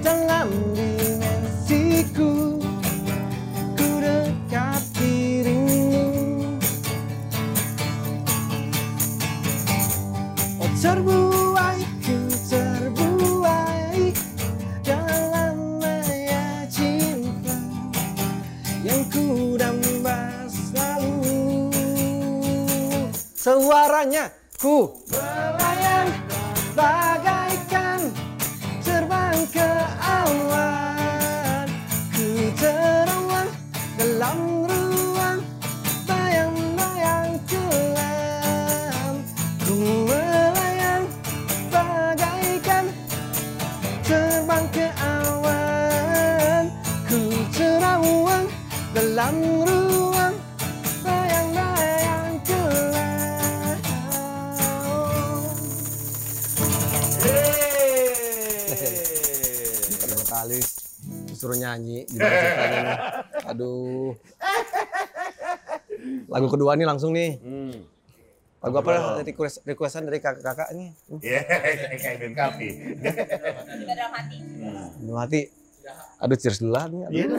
Speaker 2: Dalam dimensiku Ku dekat dirimu Oh terbuai ku terbuai Dalam maya cinta Yang ku damba selalu Suaranya ku melayang bagaikan terbang ke awan Ku terawang dalam ruang bayang-bayang kelam Ku melayang bagaikan terbang ke awan Ku terawang dalam ruang bayang-bayang kelam
Speaker 1: [LAUGHS]
Speaker 2: Dua kali disuruh nyanyi gimana ceritanya nih. Aduh. Lagu kedua nih langsung nih.
Speaker 1: Hmm.
Speaker 2: Lagu apa dah request requestan dari kakak-kakak nih?
Speaker 1: Ya, kayak Ben Kapi.
Speaker 2: Belum mati. Iya. Aduh cheers dulu lah nih. aduh.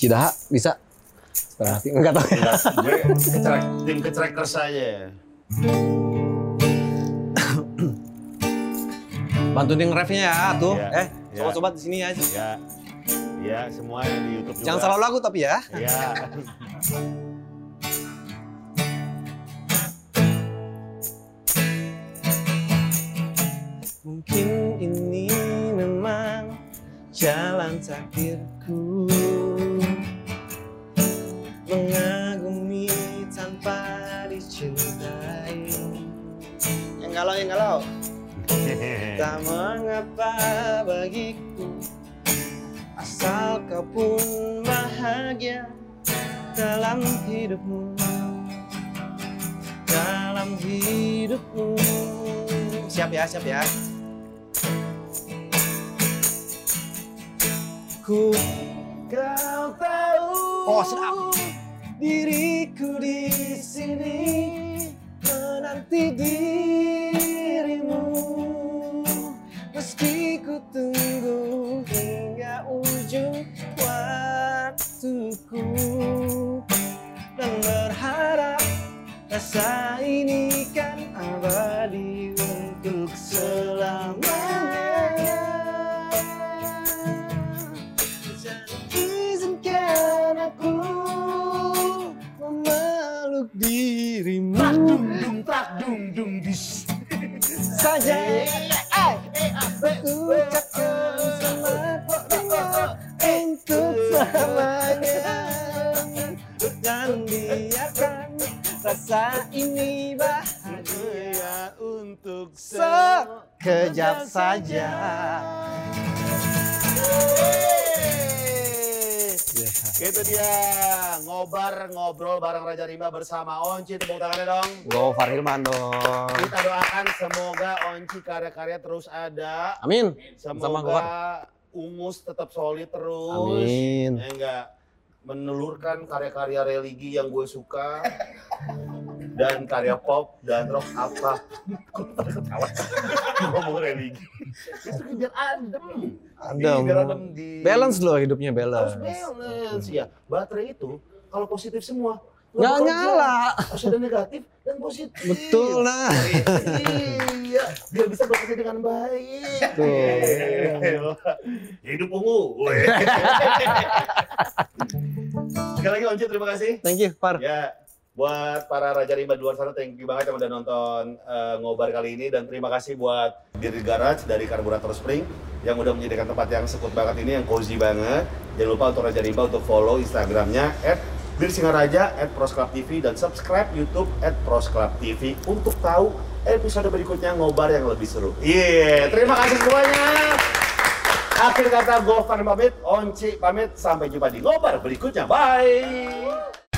Speaker 2: Cidaha bisa. Setengah hati enggak tahu.
Speaker 1: [LAUGHS]
Speaker 5: Gue kecerek, tim kecerekers aja ya.
Speaker 2: Bantu ding refnya ya tuh.
Speaker 5: Iya.
Speaker 2: Eh,
Speaker 5: Iya.
Speaker 2: sobat-sobat di sini ya.
Speaker 5: Ya, ya semua yang di YouTube juga.
Speaker 2: Jangan salah lagu tapi ya.
Speaker 5: Ya.
Speaker 1: [LAUGHS]
Speaker 2: Mungkin ini memang jalan takdirku Mengagumi tanpa dicintai Yang galau, yang galau Tak mengapa bagiku Asal kau pun bahagia Dalam hidupmu Dalam hidupmu Siap ya, siap ya Ku kau tahu
Speaker 4: Oh, sedap.
Speaker 2: Diriku di sini menanti dirimu Meski ku tunggu hingga ujung waktuku Dan berharap rasa ini kan abadi untuk selamanya Jangan izinkan aku memeluk dirimu saja Ucapkan selamat untuk selamanya Dan biarkan rasa ini bahagia untuk sekejap saja
Speaker 1: Itu dia ngobar ngobrol bareng Raja Rimba bersama Onci tepuk tangannya dong.
Speaker 2: Go Farhilman dong
Speaker 1: Kita doakan semoga Onci karya-karya terus ada.
Speaker 2: Amin Sama kan. Go
Speaker 1: Semoga Ungus tetap solid terus.
Speaker 2: Amin
Speaker 1: Ya enggak menelurkan karya-karya religi yang gue
Speaker 2: [LAUGHS]
Speaker 1: suka dan karya pop dan rock apa [LAUGHS] ketawa ngomong religi itu biar adem
Speaker 2: Adem.
Speaker 1: biar adem di
Speaker 2: Balance loh hidupnya
Speaker 1: harus
Speaker 2: balance
Speaker 1: balance ya baterai itu kalau positif semua
Speaker 2: Nggak
Speaker 1: bekerja.
Speaker 2: nyala
Speaker 1: harus ada negatif dan positif
Speaker 2: Betul nah
Speaker 1: iya biar bisa bekerja dengan baik
Speaker 2: Tuh.
Speaker 1: Gila. hidup ungu Weh. sekali lagi Once terima kasih
Speaker 2: Thank you Far
Speaker 1: ya buat para Raja Rimba di luar sana thank you banget yang udah nonton eh, ngobar kali ini dan terima kasih buat Diri Garage dari Karburator Spring yang udah menyediakan tempat yang sekut banget ini yang cozy banget jangan lupa untuk Raja Rimba untuk follow Instagramnya at Bir Singaraja at Pros Club TV dan subscribe YouTube at Pros Club TV untuk tahu episode berikutnya ngobar yang lebih seru. Iya, terima kasih semuanya. Akhir kata Gofar pamit, Onci pamit, sampai jumpa di ngobar berikutnya. Bye.